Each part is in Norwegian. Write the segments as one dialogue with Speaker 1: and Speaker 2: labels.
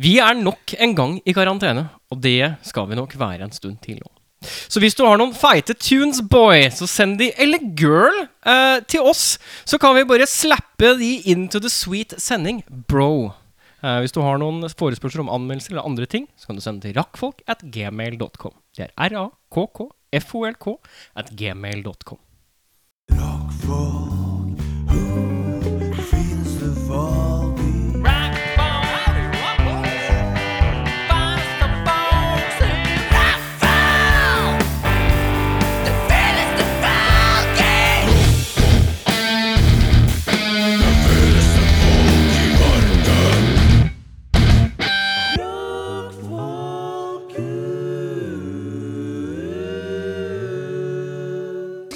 Speaker 1: Vi er nok en gang i karantene, og det skal vi nok være en stund til nå. Så hvis du har noen feite tunes, boy, så send de, eller girl, eh, til oss. Så kan vi bare slappe de into the sweet sending, bro. Eh, hvis du har noen forespørsler om anmeldelser eller andre ting, så kan du sende til rakkfolk at gmail.com. Det er r-a-k-k-f-o-l-k at gmail.com.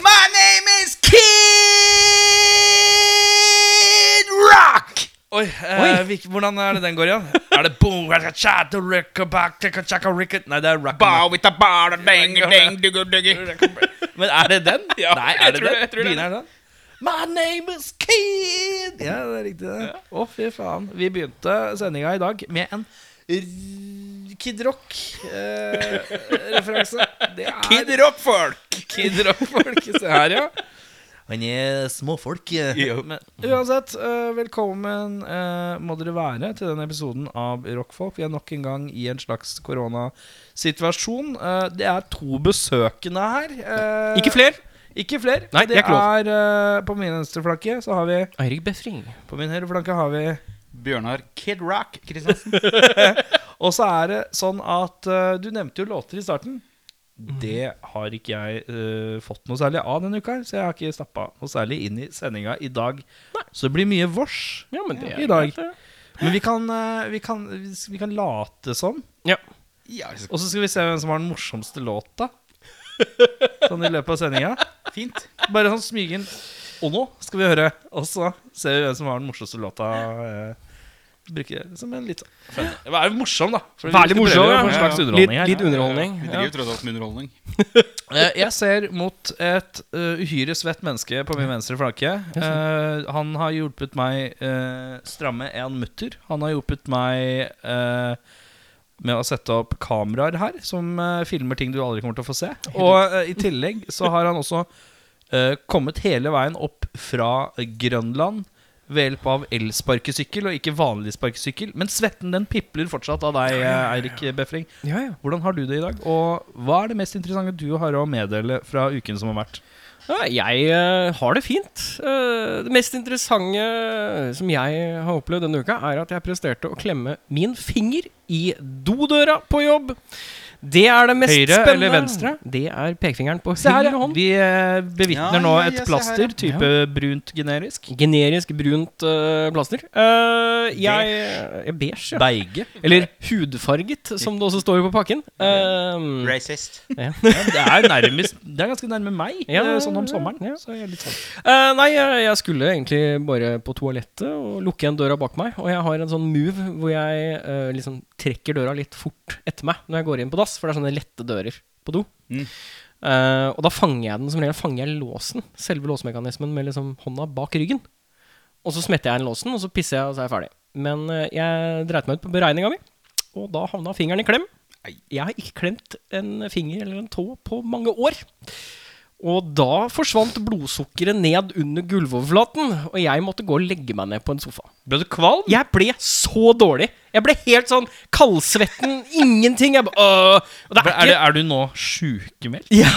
Speaker 2: My name is Kid Rock! Oi, eh,
Speaker 1: Oi.
Speaker 2: Vik- hvordan er det den går igjen? er det boom, raka, cha, da, raka, bak, taka, chaka, rika? Nei, det er rock and roll. Men er det den?
Speaker 3: Ja,
Speaker 2: Nei, er det den?
Speaker 3: jeg tror- jeg tror det er
Speaker 2: Begynner den? My name is Kid! Ja, det er riktig. det. Å, fy faen. Vi begynte sendinga i dag med en r- Kid eh, Rock-referanse.
Speaker 3: Kid Rock Folk!
Speaker 2: Kid Rock-folk. Se her, ja. Han er eh. småfolk.
Speaker 3: Jo.
Speaker 2: Men uansett, eh, velkommen eh, må dere være til denne episoden av Rockfolk. Vi er nok en gang i en slags koronasituasjon. Eh, det er to besøkende her. eh,
Speaker 1: Ikke flere.
Speaker 2: Ikke flere.
Speaker 1: Nei, det er ikke lov.
Speaker 2: er eh, På min venstre flanke så har vi
Speaker 1: Eirik Befring.
Speaker 2: På min høyre flanke har vi
Speaker 3: Bjørnar Kid Rock Kristiansen.
Speaker 2: Og så er det sånn at eh, Du nevnte jo låter i starten.
Speaker 1: Mhm.
Speaker 2: Det har ikke jeg eh, fått noe særlig av denne uka, her, så jeg har ikke stappa noe særlig inn i sendinga i dag. Så det blir mye vors
Speaker 1: Ja, men det er
Speaker 2: i dag.
Speaker 1: greit, det.
Speaker 2: Men vi kan, eh, vi, kan, vi kan late som.
Speaker 1: Ja.
Speaker 3: Ja, så
Speaker 2: Og så skal vi se hvem som har den morsomste låta. Sånn i løpet av sendinga.
Speaker 3: fint.
Speaker 2: Bare sånn smyge inn. Og nå skal vi høre, og så ser vi hvem som har den morsomste låta. Eh, bruker det som en litt sånn Vær morsom, da. For vi
Speaker 1: Veldig
Speaker 2: prøver
Speaker 1: morsom.
Speaker 2: å
Speaker 1: ja.
Speaker 2: få en slags
Speaker 1: Litt,
Speaker 2: underholdning her.
Speaker 1: litt underholdning.
Speaker 3: Vi
Speaker 1: Ja.
Speaker 3: driver tross alt med underholdning.
Speaker 2: Eh, Jeg ser mot et eh, uhyre svett menneske på min venstre flanke. Eh, han har hjulpet meg eh, stramme en mutter. Han har hjulpet meg eh, med å sette opp kameraer her, som eh, filmer ting du aldri kommer til å få se. Og eh, i tillegg så har han også eh, kommet hele veien opp fra Grønland ved hjelp av elsparkesykkel, og ikke vanlig sparkesykkel. Men svetten den pipler fortsatt av deg, eh, Eirik Befring.
Speaker 1: Ja, ja.
Speaker 2: Hvordan har du det i dag? Og hva er det mest interessante du har å meddele fra uken som har vært?
Speaker 1: Ja, jeg eh, har det fint. Eh, det mest interessante eh, som jeg har opplevd denne uka, er at jeg presterte å klemme min finger i dodøra på jobb. Det er det mest
Speaker 2: Høyre
Speaker 1: spennende.
Speaker 2: eller venstre?
Speaker 1: Det er pekefingeren på
Speaker 2: Se her,
Speaker 1: høyre hånd.
Speaker 2: vi eh, bevitner
Speaker 3: Ja,
Speaker 2: nå
Speaker 3: ja, ja,
Speaker 2: et
Speaker 3: se her,
Speaker 2: plaster,
Speaker 3: ja.
Speaker 2: type brunt generisk.
Speaker 1: Generisk brunt eh, plaster. Eh, jeg, jeg Beige, ja.
Speaker 2: Beige.
Speaker 1: Eller hudfarget, som det også står på pakken. Eh,
Speaker 3: Racist.
Speaker 2: Ja, det, er nærmest, det er ganske nærme meg,
Speaker 1: Ja,
Speaker 2: eh, sånn om
Speaker 1: ja,
Speaker 2: sommeren.
Speaker 1: ja.
Speaker 2: Så jeg er litt sånn.
Speaker 1: Eh, nei, jeg, jeg skulle egentlig bare på toalettet og lukke igjen døra bak meg. Og jeg har en sånn move hvor jeg eh, liksom trekker døra litt fort etter meg når jeg går inn på dass, for det er sånne lette dører på do.
Speaker 3: Mm.
Speaker 1: Eh, og da fanger jeg den som regel fanger jeg låsen, selve låsmekanismen, med liksom hånda bak ryggen. Og så smetter jeg inn låsen, og så pisser jeg, og så er jeg ferdig. Men eh, jeg dreit meg ut på beregninga mi, og da havna fingeren i klem.
Speaker 3: Ei.
Speaker 1: Jeg har ikke klemt en finger eller en tå på mange år. Og da forsvant blodsukkeret ned under gulvoverflaten, og jeg måtte gå og legge meg ned på en sofa.
Speaker 2: Ble du kvalm?
Speaker 1: Jeg ble så dårlig. Jeg ble helt sånn kaldsvetten, ingenting. Jeg ba, øh, og det er,
Speaker 2: Er,
Speaker 1: ikke,
Speaker 2: det, er du nå sjukemeldt?
Speaker 1: ja,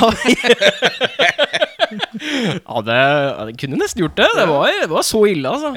Speaker 1: ja det, ja, det kunne nesten gjort det. Det var, det var så ille, altså.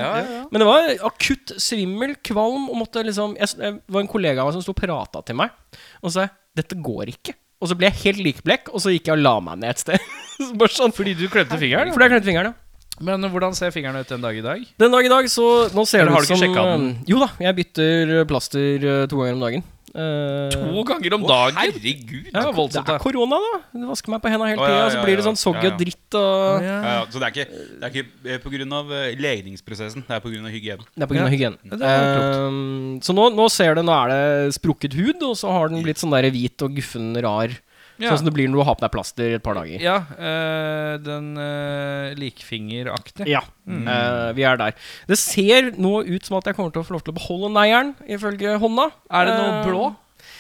Speaker 1: Men det var akutt svimmel, kvalm og måtte liksom jeg, jeg det var en kollega av meg som sto og prata til meg og sa 'dette går ikke'. Og så ble jeg helt likblekk, og så gikk jeg og la meg ned et sted. Så Bare sånn, fordi,
Speaker 2: Fordi du klemte fingeren?
Speaker 1: fordi jeg klemte fingeren, ja.
Speaker 2: Men hvordan ser fingeren ut den dag i dag?
Speaker 1: Den dag i dag, så nå ser
Speaker 2: Eller
Speaker 1: det
Speaker 2: har
Speaker 1: ut
Speaker 2: du ikke
Speaker 1: som
Speaker 2: sjekket den?
Speaker 1: eh, Jo da, jeg bytter eh, plaster eh, to ganger om dagen. Eh,
Speaker 2: To ganger om
Speaker 3: Å,
Speaker 2: dagen?
Speaker 3: herregud.
Speaker 2: Ja,
Speaker 1: det
Speaker 2: voldsomt.
Speaker 1: er
Speaker 2: da.
Speaker 1: korona, da. Du vasker meg på henda hele
Speaker 3: Å, ja,
Speaker 1: tida, og
Speaker 3: ja,
Speaker 1: så blir det
Speaker 3: ja.
Speaker 1: sånn soggy
Speaker 3: Ja, ja.
Speaker 1: og dritt. Og
Speaker 2: Ja.
Speaker 3: Ja, ja, så det er ikke, det er ikke eh, på grunn av eh, legningsprosessen, det er på grunn av hygiene.
Speaker 1: Det er pga.
Speaker 2: Ja,
Speaker 1: av Eh, hygienen.
Speaker 2: det er
Speaker 1: Ehm, så nå, nå ser du, nå er det sprukket hud, og så har den blitt sånn der hvit og guffen, rar
Speaker 2: Ja.
Speaker 1: Sånn som det blir når du har på deg plaster i et par dager.
Speaker 2: Ja, eh, den eh, likfingeraktig.
Speaker 1: Ja,
Speaker 2: Mm.
Speaker 1: eh, vi er der. Det ser nå ut som at jeg kommer til å få lov til å beholde neieren, ifølge hånda.
Speaker 2: Er det noe
Speaker 1: Eh,
Speaker 2: blå?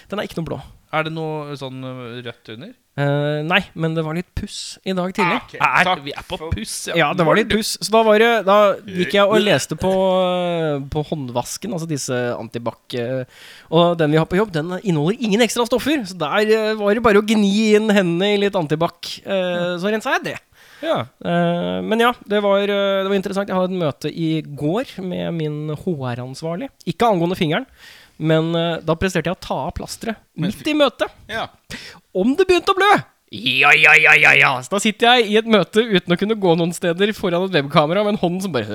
Speaker 1: Den er ikke noe blå.
Speaker 2: Er det noe sånn eh, rødt under?
Speaker 1: Eh, nei, men det var litt puss i dag tidlig.
Speaker 3: Ah, Ok,
Speaker 2: Er,
Speaker 3: takk
Speaker 2: Ah, vi er på
Speaker 3: for-
Speaker 2: puss,
Speaker 1: Ja, det var litt puss. Så da, var det, da gikk jeg og leste på, eh, på håndvasken, altså disse antibac. eh, Og den vi har på jobb, den inneholder ingen ekstra stoffer. Så der eh, var det bare å gni inn hendene i litt antibac, eh, så rensa jeg det.
Speaker 2: Ja.
Speaker 1: Eh, Men ja, det var, eh, det var interessant. Jeg hadde et møte i går med min HR-ansvarlig. Ikke angående fingeren, men eh, da presterte jeg å ta av plasteret
Speaker 3: Men
Speaker 1: midt i møtet
Speaker 3: Ja.
Speaker 1: om det begynte å blø. Ja, ja, ja, ja, ja. Så da sitter jeg i et møte uten å kunne gå noen steder foran et webkamera med en hånd som bare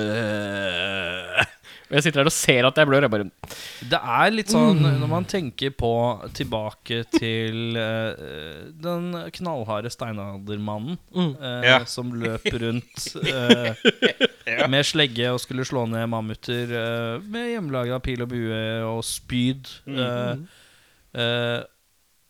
Speaker 1: øh. Og jeg sitter der og ser at jeg blør. Jeg bare
Speaker 2: Det er litt sånn
Speaker 1: Mm.
Speaker 2: når man tenker på tilbake til eh, den knallharde steinaldermannen
Speaker 1: Mm.
Speaker 2: eh,
Speaker 3: Ja.
Speaker 2: som løp rundt eh, med slegge og skulle slå ned mammuter eh, med hjemmelaga pil og bue og spyd. eh,
Speaker 3: Mm.
Speaker 2: eh,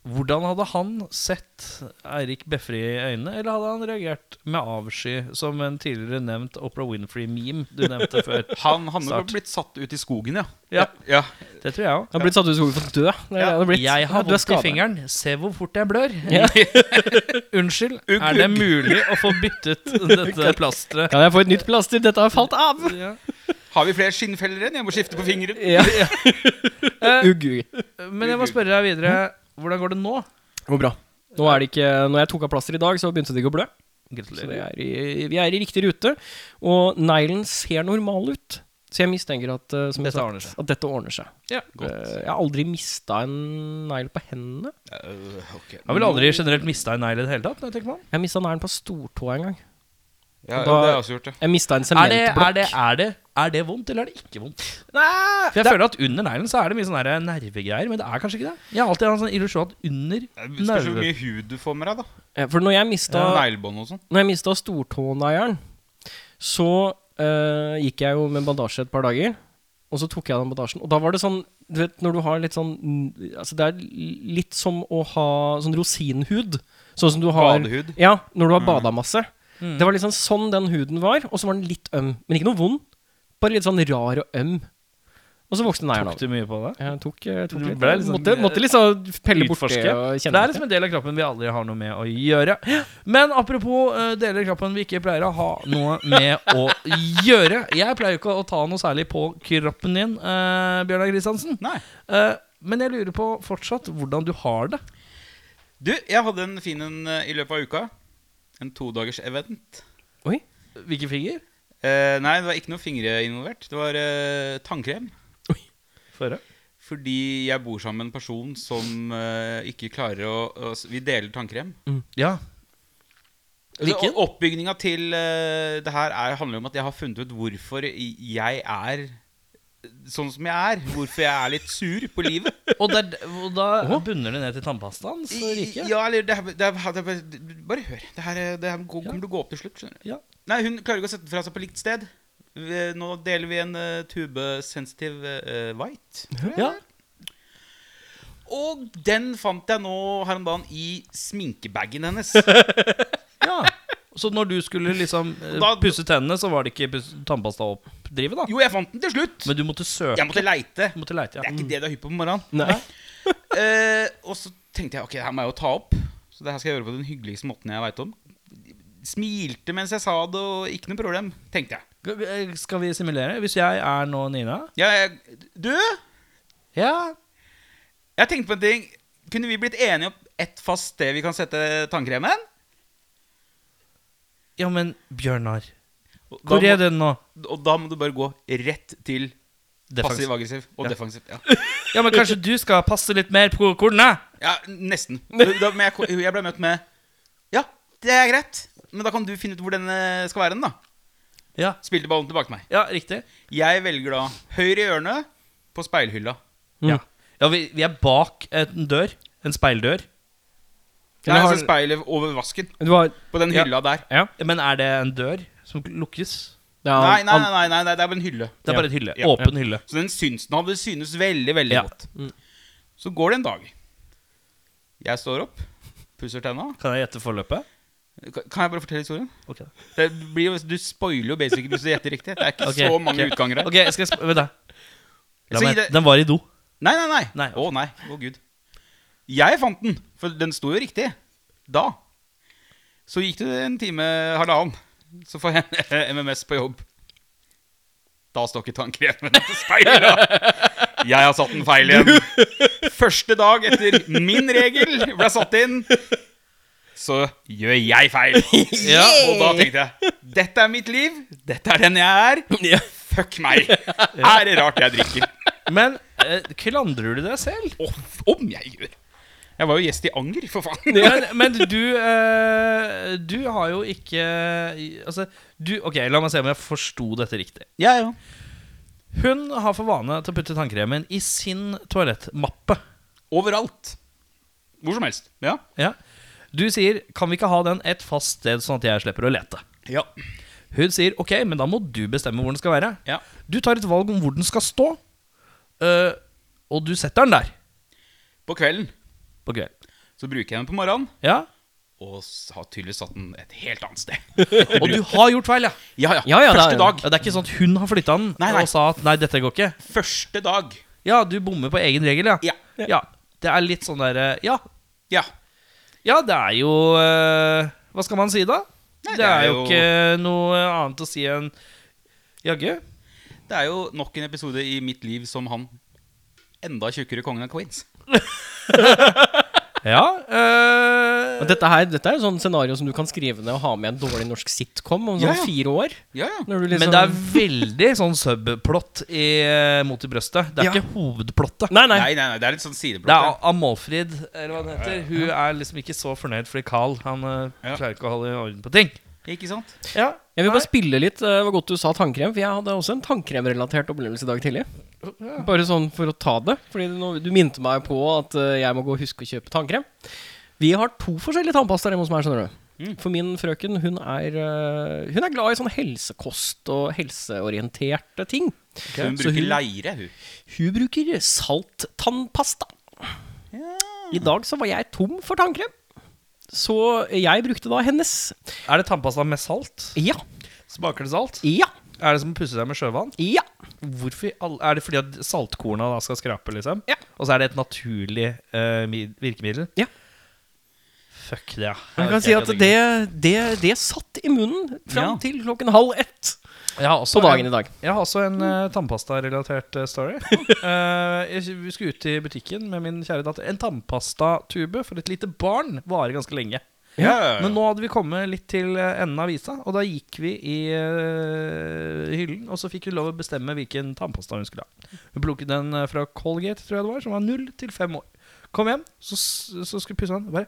Speaker 2: hvordan hadde han sett Eirik Befri i øynene, eller hadde han reagert med avsky, som en tidligere nevnt Opera Winfrey-meme du nevnte før?
Speaker 3: Han hadde
Speaker 2: Start.
Speaker 3: nok blitt satt ut i skogen, ja.
Speaker 2: Ja.
Speaker 3: ja.
Speaker 2: Det tror jeg òg.
Speaker 1: Jeg har blitt satt ut i skogen for å dø. Det er det det har blitt.
Speaker 2: Jeg har
Speaker 1: Du er
Speaker 2: vondt i
Speaker 1: skadet.
Speaker 2: fingeren. Se hvor fort jeg blør.
Speaker 1: Ja.
Speaker 2: Unnskyld,
Speaker 3: Ugg,
Speaker 2: er det
Speaker 3: ugg.
Speaker 2: mulig å få byttet dette plasteret?
Speaker 1: Kan jeg få et nytt plaster? Dette har falt av.
Speaker 2: Ja.
Speaker 3: Har vi flere skinnfeller igjen? Jeg må skifte på fingeren.
Speaker 1: Ja.
Speaker 2: Eh,
Speaker 1: Ugg, ugg.
Speaker 2: men jeg må spørre deg videre. Hvordan går det nå?
Speaker 1: Det går bra. Nå er det ikke, når jeg tok av plaster i dag, så begynte det ikke å blø. Så det
Speaker 2: Gratulerer.
Speaker 1: er i, vi er i riktig rute. Og neglen ser normal ut. Så jeg mistenker at, eh, som jeg
Speaker 2: Dette
Speaker 1: sa,
Speaker 2: ordner seg.
Speaker 1: at dette ordner seg.
Speaker 2: Ja.
Speaker 1: Eh, Jeg har aldri mista en negl på hendene.
Speaker 3: Øh, ok.
Speaker 2: Jeg har vel aldri generelt mista en negl i det hele tatt. Når jeg tenker meg om.
Speaker 1: Jeg mista neglen på stortåa en gang.
Speaker 3: Ja, ja, det
Speaker 1: Da-
Speaker 3: har jeg også gjort, ja.
Speaker 1: Jeg mista en
Speaker 2: Er det, er,
Speaker 1: sementblokk.
Speaker 2: det, er, det, er det vondt, eller er det ikke vondt?
Speaker 1: Nei,
Speaker 2: For jeg føler at Under neglen så er det mye sånne her nervegreier, men det er kanskje ikke det. Jeg har alltid hatt en sånn illusjon at under
Speaker 3: Det Spørs hvor
Speaker 2: nerve-
Speaker 3: mye hud du får med deg, da.
Speaker 1: eh, For når jeg mista,
Speaker 3: Neglebånd og sånn.
Speaker 1: når jeg mista stortåneieren, så eh, gikk jeg jo med bandasje et par dager. Og så tok jeg den bandasjen. Og da var det sånn Du vet når du har litt sånn Altså Det er litt som å ha sånn rosinhud. Sånn som du har
Speaker 3: Badehud.
Speaker 1: Ja, når du
Speaker 2: Mm.
Speaker 1: har bada masse. Det var liksom sånn den huden var, og så var den litt øm. Men ikke noe vond. Bare litt sånn rar og øm. Og så vokste neieren
Speaker 2: Tok
Speaker 1: av.
Speaker 2: du mye på det?
Speaker 1: Jeg tok, jeg tok
Speaker 2: Du
Speaker 1: litt.
Speaker 2: ble liksom-
Speaker 1: måtte, måtte liksom pelle bort
Speaker 2: Utforske.
Speaker 1: det og
Speaker 2: Det
Speaker 1: kjenne
Speaker 2: er liksom en del av kroppen vi aldri har noe med å gjøre. Men apropos eh, deler av kroppen vi ikke pleier å ha noe med å gjøre. Jeg pleier jo ikke å ta noe særlig på kroppen din, eh, Bjørnar Kristiansen.
Speaker 3: Nei.
Speaker 2: Eh, men jeg lurer på fortsatt hvordan du har det.
Speaker 3: Du, jeg hadde en fin en eh, i løpet av uka. En todagers event.
Speaker 1: Oi.
Speaker 2: Hvilken finger?
Speaker 3: Eh, nei, det var ikke noen fingre involvert. Det var eh, tannkrem.
Speaker 2: Føre.
Speaker 3: Fordi jeg bor sammen med en person som eh, ikke klarer å, å s- Vi deler tannkrem.
Speaker 2: Ja.
Speaker 3: Altså, og Oppbygninga til eh, det her er, handler om at jeg har funnet ut hvorfor jeg er sånn som jeg er. Hvorfor jeg er litt sur på livet.
Speaker 2: Og, der, og da bunner det ned til tannpastaen? Så rike.
Speaker 3: Ja, eller det, her- det, her- det, her- Bare hør. Det her, det her går- kommer til å gå opp til slutt. skjønner du
Speaker 2: Ja.
Speaker 3: Nei, hun klarer ikke å sette den fra seg på likt sted. Vi- Nå deler vi en eh, tube sensitive eh, white. tror jeg.
Speaker 2: Ja.
Speaker 3: Og den fant jeg nå her om dagen i sminkebagen hennes.
Speaker 2: ja. Så når du skulle liksom eh,
Speaker 3: Da-
Speaker 2: pusse tennene, så var det ikke pus- tannpasta å oppdrive, da?
Speaker 3: Jo, jeg fant den til slutt.
Speaker 2: Men du måtte søke?
Speaker 3: Jeg måtte leite.
Speaker 2: Du måtte leite, ja.
Speaker 3: Det er ikke det du er hypp på på morgenen.
Speaker 1: Nei.
Speaker 3: Eh, og så tenkte jeg ok, det her må jeg jo ta opp. Så det her skal jeg gjøre på den hyggeligste måten jeg veit om. Smilte mens jeg sa det, og ikke noe problem, tenkte jeg.
Speaker 2: G- Skal vi simulere? Hvis jeg er nå Nina
Speaker 3: Ja, jeg du,
Speaker 2: Ja
Speaker 3: jeg tenkte på en ting. Kunne vi blitt enige om ett fast sted vi kan sette tannkremen?
Speaker 2: Ja, men Bjørnar
Speaker 3: Og da
Speaker 2: Hvor
Speaker 3: må-
Speaker 2: er den nå?
Speaker 3: Og da må du bare gå rett til
Speaker 2: Defensiv.
Speaker 3: passiv-aggressiv og
Speaker 2: Ja.
Speaker 3: defensiv. Ja.
Speaker 2: Ja, men kanskje du skal passe litt mer på kornene
Speaker 3: ja, nesten. Da, men jeg, ko- jeg ble møtt med Ja, det er greit, men da kan du finne ut hvor den eh, skal være. den da
Speaker 2: Ja,
Speaker 3: Spilte ballen tilbake til meg.
Speaker 2: ja, riktig
Speaker 3: Jeg velger da høyre i ørene på speilhylla.
Speaker 1: Mm.
Speaker 2: Ja, ja vi, vi er bak en dør En speildør
Speaker 1: Eller
Speaker 3: Nei,
Speaker 1: har-
Speaker 3: altså speilet over vasken.
Speaker 1: Du har
Speaker 3: På den
Speaker 2: Ja.
Speaker 3: hylla der.
Speaker 1: Ja.
Speaker 2: Men er det en dør som lukkes?
Speaker 1: Det er,
Speaker 3: Nei, nei,
Speaker 1: an-
Speaker 3: nei, nei, nei, nei det er bare en hylle.
Speaker 2: Det er
Speaker 1: Ja.
Speaker 2: bare et hylle
Speaker 3: Ja.
Speaker 2: Åpen hylle
Speaker 3: Så den syns den hadde synes veldig, veldig
Speaker 2: Ja.
Speaker 3: godt. Så går det en dag. Jeg står opp, pusser tenna.
Speaker 2: Kan jeg gjette forløpet?
Speaker 3: Kan kan jeg bare fortelle historien?
Speaker 2: Ok.
Speaker 3: Det blir, jo- du spoiler jo basically hvis du gjetter riktig. Det er ikke
Speaker 2: Ok,
Speaker 3: så mange
Speaker 2: ok.
Speaker 3: utganger her.
Speaker 2: Ok, jeg skal sp- Vent, da. La
Speaker 3: Så
Speaker 2: meg,
Speaker 3: i det-
Speaker 2: den var i do.
Speaker 3: Nei, nei, nei. Å
Speaker 2: Nei,
Speaker 3: nei.
Speaker 2: ok.
Speaker 3: Å gud. Jeg fant den, for den sto jo riktig da. Så gikk det en time, halvannen, så får jeg MMS på jobb. Da står ikke tannkremen etter speilet. Jeg har satt den feil igjen. Første dag etter min regel ble satt inn, så gjør jeg feil.
Speaker 2: Ja,
Speaker 3: Og da tenkte jeg dette er mitt liv, dette er den jeg er.
Speaker 1: Ja.
Speaker 3: Fuck meg. Er det rart jeg drikker?
Speaker 2: Men eh, klandrer du deg selv?
Speaker 3: Off, om jeg gjør. Jeg var jo gjest i Anger, for faen.
Speaker 2: Men, men du eh, Du har jo ikke Altså, du Ok, la meg se om jeg forsto dette riktig.
Speaker 3: Ja, ja.
Speaker 2: Hun har for vane til å putte tannkremen i sin toalettmappe.
Speaker 3: Overalt. Hvor som helst. Ja.
Speaker 2: Ja. Du sier 'Kan vi ikke ha den et fast sted, sånn at jeg slipper å lete'?
Speaker 3: Ja.
Speaker 2: Hun sier 'Ok, men da må du bestemme hvor den skal være'.
Speaker 3: Ja.
Speaker 2: Du tar et valg om hvor den skal stå, eh, og du setter den der
Speaker 3: På kvelden
Speaker 2: på kvelden.
Speaker 3: så bruker jeg den på morgenen,
Speaker 2: Ja?
Speaker 3: og s- har tydeligvis satt den et helt annet sted.
Speaker 2: Og du har gjort feil, ja.
Speaker 3: Ja, ja.
Speaker 1: Ja, ja, det er-
Speaker 3: første dag.
Speaker 2: Ja, Det er ikke sånn at hun har flytta den
Speaker 3: Nei, nei.
Speaker 2: og sa at 'nei, dette går ikke'.
Speaker 3: Første dag.
Speaker 2: Ja, du bommer på egen regel, ja.
Speaker 3: Ja.
Speaker 2: ja. Det er litt sånn derre ja.
Speaker 3: Ja.
Speaker 2: ja, det er jo eh, Hva skal man si da?
Speaker 3: Nei,
Speaker 2: det, er jo ikke noe annet å si enn Jaggu.
Speaker 3: Det er jo nok en episode i mitt liv som han enda tjukkere kongen av Queens.
Speaker 2: Ja. eh,
Speaker 1: Men Dette, her, dette er jo sånn scenario som du kan skrive ned og ha med i en dårlig norsk sitcom om sånn
Speaker 3: Ja, ja.
Speaker 1: fire år.
Speaker 3: Ja, ja.
Speaker 1: Når du liksom...
Speaker 2: Men det er sånn- veldig sånn subplot i eh, Mot i brøstet. Det er
Speaker 1: Ja.
Speaker 2: ikke hovedplottet.
Speaker 1: Nei, nei.
Speaker 3: Nei, nei, nei, det er litt sånn
Speaker 2: Det er
Speaker 3: sideblokk.
Speaker 2: A- Amalfrid, eller hva det heter. Hun er liksom ikke så fornøyd fordi Carl han eh,
Speaker 3: Ja.
Speaker 2: klarer ikke å holde orden på ting.
Speaker 3: ja. Ikke sant?
Speaker 2: Ja,
Speaker 1: Jeg vil
Speaker 2: nei.
Speaker 1: bare spille litt eh, hvor godt du sa tannkrem, for jeg hadde også en tannkremrelatert opplevelse i dag tidlig. Bare sånn for å ta det, fordi du, nå- du minte meg på at eh, jeg må gå og huske å kjøpe tannkrem. Vi har to forskjellige tannpastaer hjemme hos meg, skjønner du.
Speaker 2: Mm.
Speaker 1: For min frøken, hun er, eh, hun er glad i sånn helsekost og helseorienterte ting.
Speaker 3: Så hun
Speaker 1: Så
Speaker 3: bruker
Speaker 1: hun-
Speaker 3: leire, hun.
Speaker 1: Hun bruker salttannpasta. I dag så var jeg tom for tannkrem, så jeg brukte da hennes.
Speaker 2: Er det tannpasta med salt?
Speaker 1: Ja,
Speaker 2: Smaker det salt?
Speaker 1: ja,
Speaker 2: Er det som å pusse seg med sjøvann?
Speaker 1: ja.
Speaker 2: Hvorfor i all- Er det fordi at saltkorna da skal skrape, liksom?
Speaker 1: Ja.
Speaker 2: Og så er det et naturlig eh, mi- virkemiddel?
Speaker 1: Ja.
Speaker 2: Fuck det, ja.
Speaker 1: Man kan si at det, det, det satt i munnen fram
Speaker 3: Ja.
Speaker 1: til klokken halv ett
Speaker 2: Jeg har
Speaker 1: på
Speaker 2: også
Speaker 1: dagen
Speaker 2: en,
Speaker 1: i dag.
Speaker 2: jeg har også en eh, tannpasta-relatert eh, story. Eh, jeg, vi skulle ut i butikken med min kjære datter. En tannpastatube for et lite barn varer ganske lenge.
Speaker 3: Ja.
Speaker 2: Men nå hadde vi kommet litt til eh, enden av visa, og da gikk vi i eh, hyllen, og så fikk hun lov å bestemme hvilken tannpasta hun skulle ha. Hun plukket den eh, fra Colgate, tror jeg det var, som var null til fem år. Kom hjem, så, s- så skulle pusse den. Bare,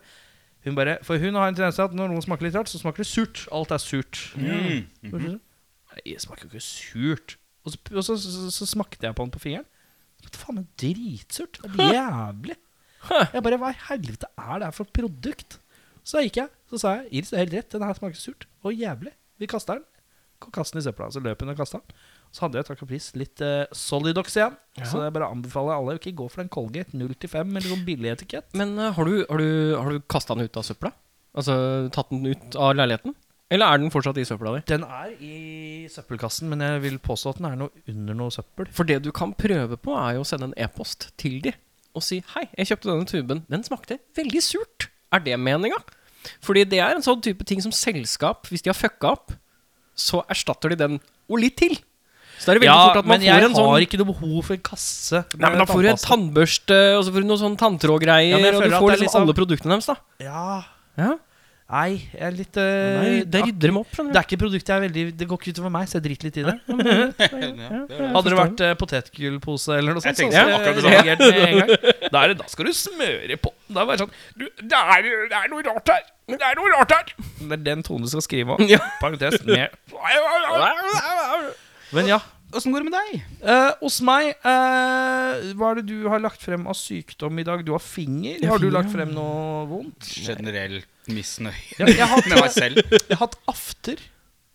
Speaker 2: hun bare, for hun har en tendens til at når noe smaker litt rart, så smaker det surt. Alt er surt.
Speaker 3: Mm.
Speaker 2: Nei, det smaker jo ikke surt. Og så, og så, så, så smakte jeg på den på fingeren. Det faen meg dritsurt. Det er jævlig. Jeg bare, Hva i helvete er det her for produkt? Så da gikk jeg, så sa jeg Iris, du har helt rett, den her smaker surt og jævlig. Vi kaster den. Kom, Kast den i søpla. Så løp hun og kasta den. Så hadde jeg takk og pris litt eh, Solidox igjen. Så jeg bare anbefaler alle å ikke gå for den Colgate 0 til 5 eller sånn billig etikett.
Speaker 1: Men eh, har du, har du, har du kasta den ut av søpla? Altså tatt den ut av leiligheten? Eller er den fortsatt i søpla di?
Speaker 2: Den er i søppelkassen, men jeg vil påstå at den er noe under noe søppel.
Speaker 1: For det du kan prøve på, er jo å sende en e-post til de og si Hei, jeg kjøpte denne tuben. Den smakte veldig surt. Er det meninga? Fordi det er en sånn type ting som selskap, hvis de har fucka opp, så erstatter de den og litt til. Så da er det veldig fort at man
Speaker 2: men jeg
Speaker 1: får en sånn
Speaker 2: har ikke noe behov for en kasse.
Speaker 1: Nei, men Da
Speaker 2: med
Speaker 1: får du en
Speaker 2: tannpasta.
Speaker 1: tannbørste, og så får du noen sånne tanntrådgreier,
Speaker 2: Ja, men jeg
Speaker 1: og du
Speaker 2: føler at
Speaker 1: får
Speaker 2: det er
Speaker 1: liksom,
Speaker 2: liksom-
Speaker 1: alle produktene deres, da.
Speaker 2: Ja,
Speaker 1: Ja.
Speaker 2: Nei, jeg er litt eh,
Speaker 1: Nei, det
Speaker 2: ak-
Speaker 1: rydder dem opp.
Speaker 2: det er ikke produktet jeg er veldig Det går ikke utover meg, så jeg driter litt i det.
Speaker 3: Ja, det er det.
Speaker 2: Hadde det vært eh, potetgullpose eller noe
Speaker 3: Jeg
Speaker 2: sånt,
Speaker 3: tenkte
Speaker 2: så hadde
Speaker 3: akkurat det
Speaker 2: jeg reagert med en gang. Da, er det, da skal du smøre på. Da er det bare sånn du, det, er, det er noe rart her! Det er noe rart her! Det er den tonen du skal skrive om.
Speaker 1: Ja.
Speaker 2: Parentes med Men ja.
Speaker 3: Åssen går det med deg?
Speaker 2: Eh, hos meg eh, Hva er det du har lagt frem av sykdom i dag? Du har finger.
Speaker 1: har
Speaker 2: Har du
Speaker 1: finger,
Speaker 2: lagt
Speaker 1: ja.
Speaker 2: frem noe vondt?
Speaker 3: Generelt misnøye
Speaker 2: Ja, jeg, har,
Speaker 3: med meg selv.
Speaker 2: jeg har hatt after.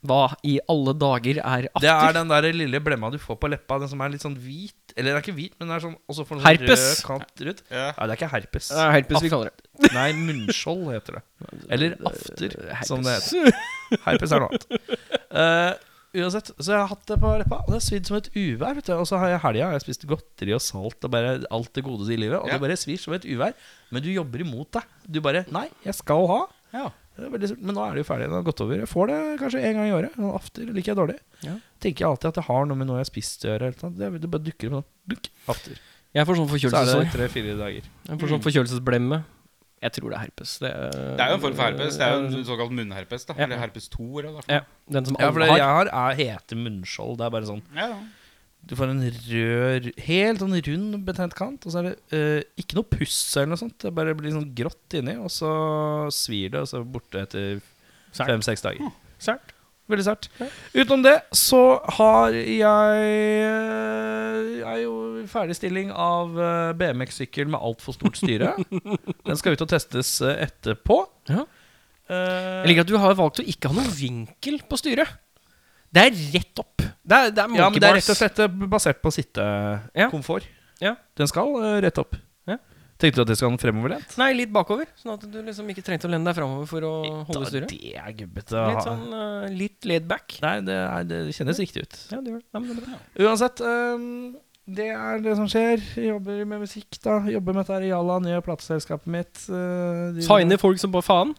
Speaker 1: Hva i alle dager er after?
Speaker 2: Det er den der lille blemma du får på leppa, den som er litt sånn hvit Eller den er ikke hvit, men den er sånn og så får den sånn
Speaker 1: Herpes.
Speaker 2: rød kant rundt.
Speaker 3: Ja.
Speaker 2: Nei, det er ikke herpes.
Speaker 1: Det er herpes vi kaller det.
Speaker 2: Nei, munnskjold heter det. Eller after, som det heter.
Speaker 1: Herpes.
Speaker 2: Herpes er noe annet. Eh, uansett, så jeg har hatt det på leppa, og det har svidd som et uvær. vet du Og så har jeg i helga har jeg spist godteri og salt og bare alt det gode i livet. Og
Speaker 3: Ja.
Speaker 2: det bare svir som et uvær. Men du jobber imot det. Du bare Nei, jeg skal ha.
Speaker 3: Ja.
Speaker 2: Det er veldig surt, Men nå er det jo ferdig. Det har gått over. Jeg får det kanskje en gang i året. Og after liker jeg dårlig.
Speaker 1: Ja.
Speaker 2: Tenker jeg alltid at det har noe med noe jeg har spist å gjøre. eller noe sånt. Det, det bare dukker opp sånn. Dukk, after.
Speaker 1: Jeg får sånn
Speaker 2: Så er det
Speaker 1: forkjølelsesår.
Speaker 2: tre-fire dager.
Speaker 1: Jeg får sånn
Speaker 2: Mm.
Speaker 1: forkjølelsesblemme. Jeg tror det er herpes. Det er,
Speaker 3: Det er jo en form for herpes. Det er jo en såkalt munnherpes. da
Speaker 1: Ja.
Speaker 3: Eller herpes 2. Eller, hva det
Speaker 1: Ja,
Speaker 3: er for
Speaker 1: den som
Speaker 2: Ja, for
Speaker 1: alle
Speaker 2: det
Speaker 1: har.
Speaker 2: jeg har, er hete munnskjold. Det er bare sånn
Speaker 3: noe. Ja, ja.
Speaker 2: Du får en rød, helt sånn rund betent kant, og så er det eh, ikke noe puss eller noe sånt. Det bare blir sånn grått inni, og så svir det, og så er det borte etter
Speaker 1: Sært.
Speaker 2: fem-seks dager.
Speaker 1: Sært.
Speaker 2: Veldig sært. Utenom det så har jeg eh, er jo i ferdig stilling av eh, BMX-sykkel med altfor stort styre. Den skal ut og testes eh, etterpå.
Speaker 1: Ja.
Speaker 2: Eh,
Speaker 1: Jeg liker at du har valgt å ikke ha noen vinkel på styret. Det er rett opp. Det er, det er monkey
Speaker 2: Ja, men det er
Speaker 1: bars.
Speaker 2: rett og slett eh, basert på
Speaker 1: Ja.
Speaker 2: sittekomfort.
Speaker 1: Ja.
Speaker 2: Den skal eh, rett opp.
Speaker 1: Ja.
Speaker 2: Tenkte du at det skal den fremoverlent?
Speaker 1: Nei, litt bakover. Sånn at du liksom ikke trengte å lene deg framover for å holde styret.
Speaker 2: sånn Det er gubbete. å
Speaker 1: Litt
Speaker 2: ha.
Speaker 1: sånn eh, litt laid back.
Speaker 2: Nei, det, er, det kjennes riktig ut.
Speaker 1: Ja, det gjør det. Nei, men det er bra.
Speaker 2: Uansett, ehm, det er det som skjer. Jeg jobber med musikk, da. Jobber med dette her i Jalla, nye plateselskapet mitt. eh, de-
Speaker 1: Signe folk som bare faen.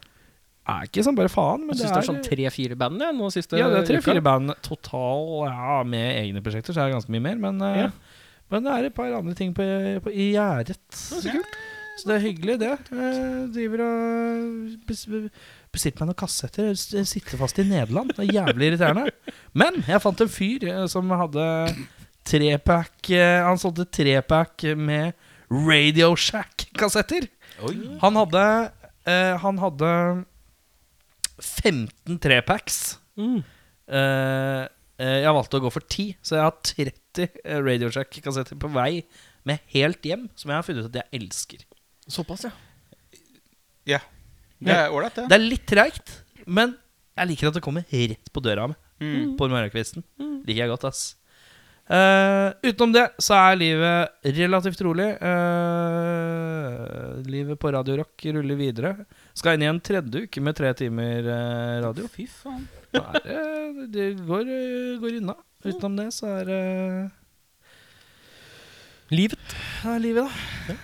Speaker 2: Er ikke sånn bare faen, men
Speaker 1: Jeg syns
Speaker 2: det er,
Speaker 1: det er sånn tre-fire band jeg, nå siste
Speaker 2: Ja, det er
Speaker 1: uka.
Speaker 2: tre-fire band total ja, med egne prosjekter, så er det ganske mye mer. Men, eh,
Speaker 1: Ja.
Speaker 2: men det er et par andre ting på, på, i gjerdet. Så kult. Så det er hyggelig, det. Eh, driver og bes- besitter meg noen kassetter. S- Sitter fast i Nederland. Det er jævlig irriterende. Men jeg fant en fyr eh, som hadde trepack eh, Han solgte trepack med Radio Shack-kassetter.
Speaker 3: Oi.
Speaker 2: Han hadde eh, Han hadde 15 trepacks.
Speaker 1: Mm.
Speaker 2: Eh, eh, jeg valgte å gå for 10, så jeg har eh, 30 Radiojack-kassetter på vei med helt hjem, som jeg har funnet ut at jeg elsker.
Speaker 1: Såpass, ja.
Speaker 3: Ja. Det er ålreit, det.
Speaker 2: Det er litt treigt, men jeg liker at det kommer rett på døra mi
Speaker 3: Mm.
Speaker 2: på morgenkvisten. Liker jeg godt, ass. Eh, utenom det så er livet relativt rolig. Eh, livet på Radio Rock ruller videre. Skal inn i en tredje uke med tre timer eh, radio.
Speaker 3: Fy faen.
Speaker 2: Da er det, det går, eh, går unna. Utenom det så er eh, det
Speaker 1: Livet.
Speaker 2: Det er livet, da.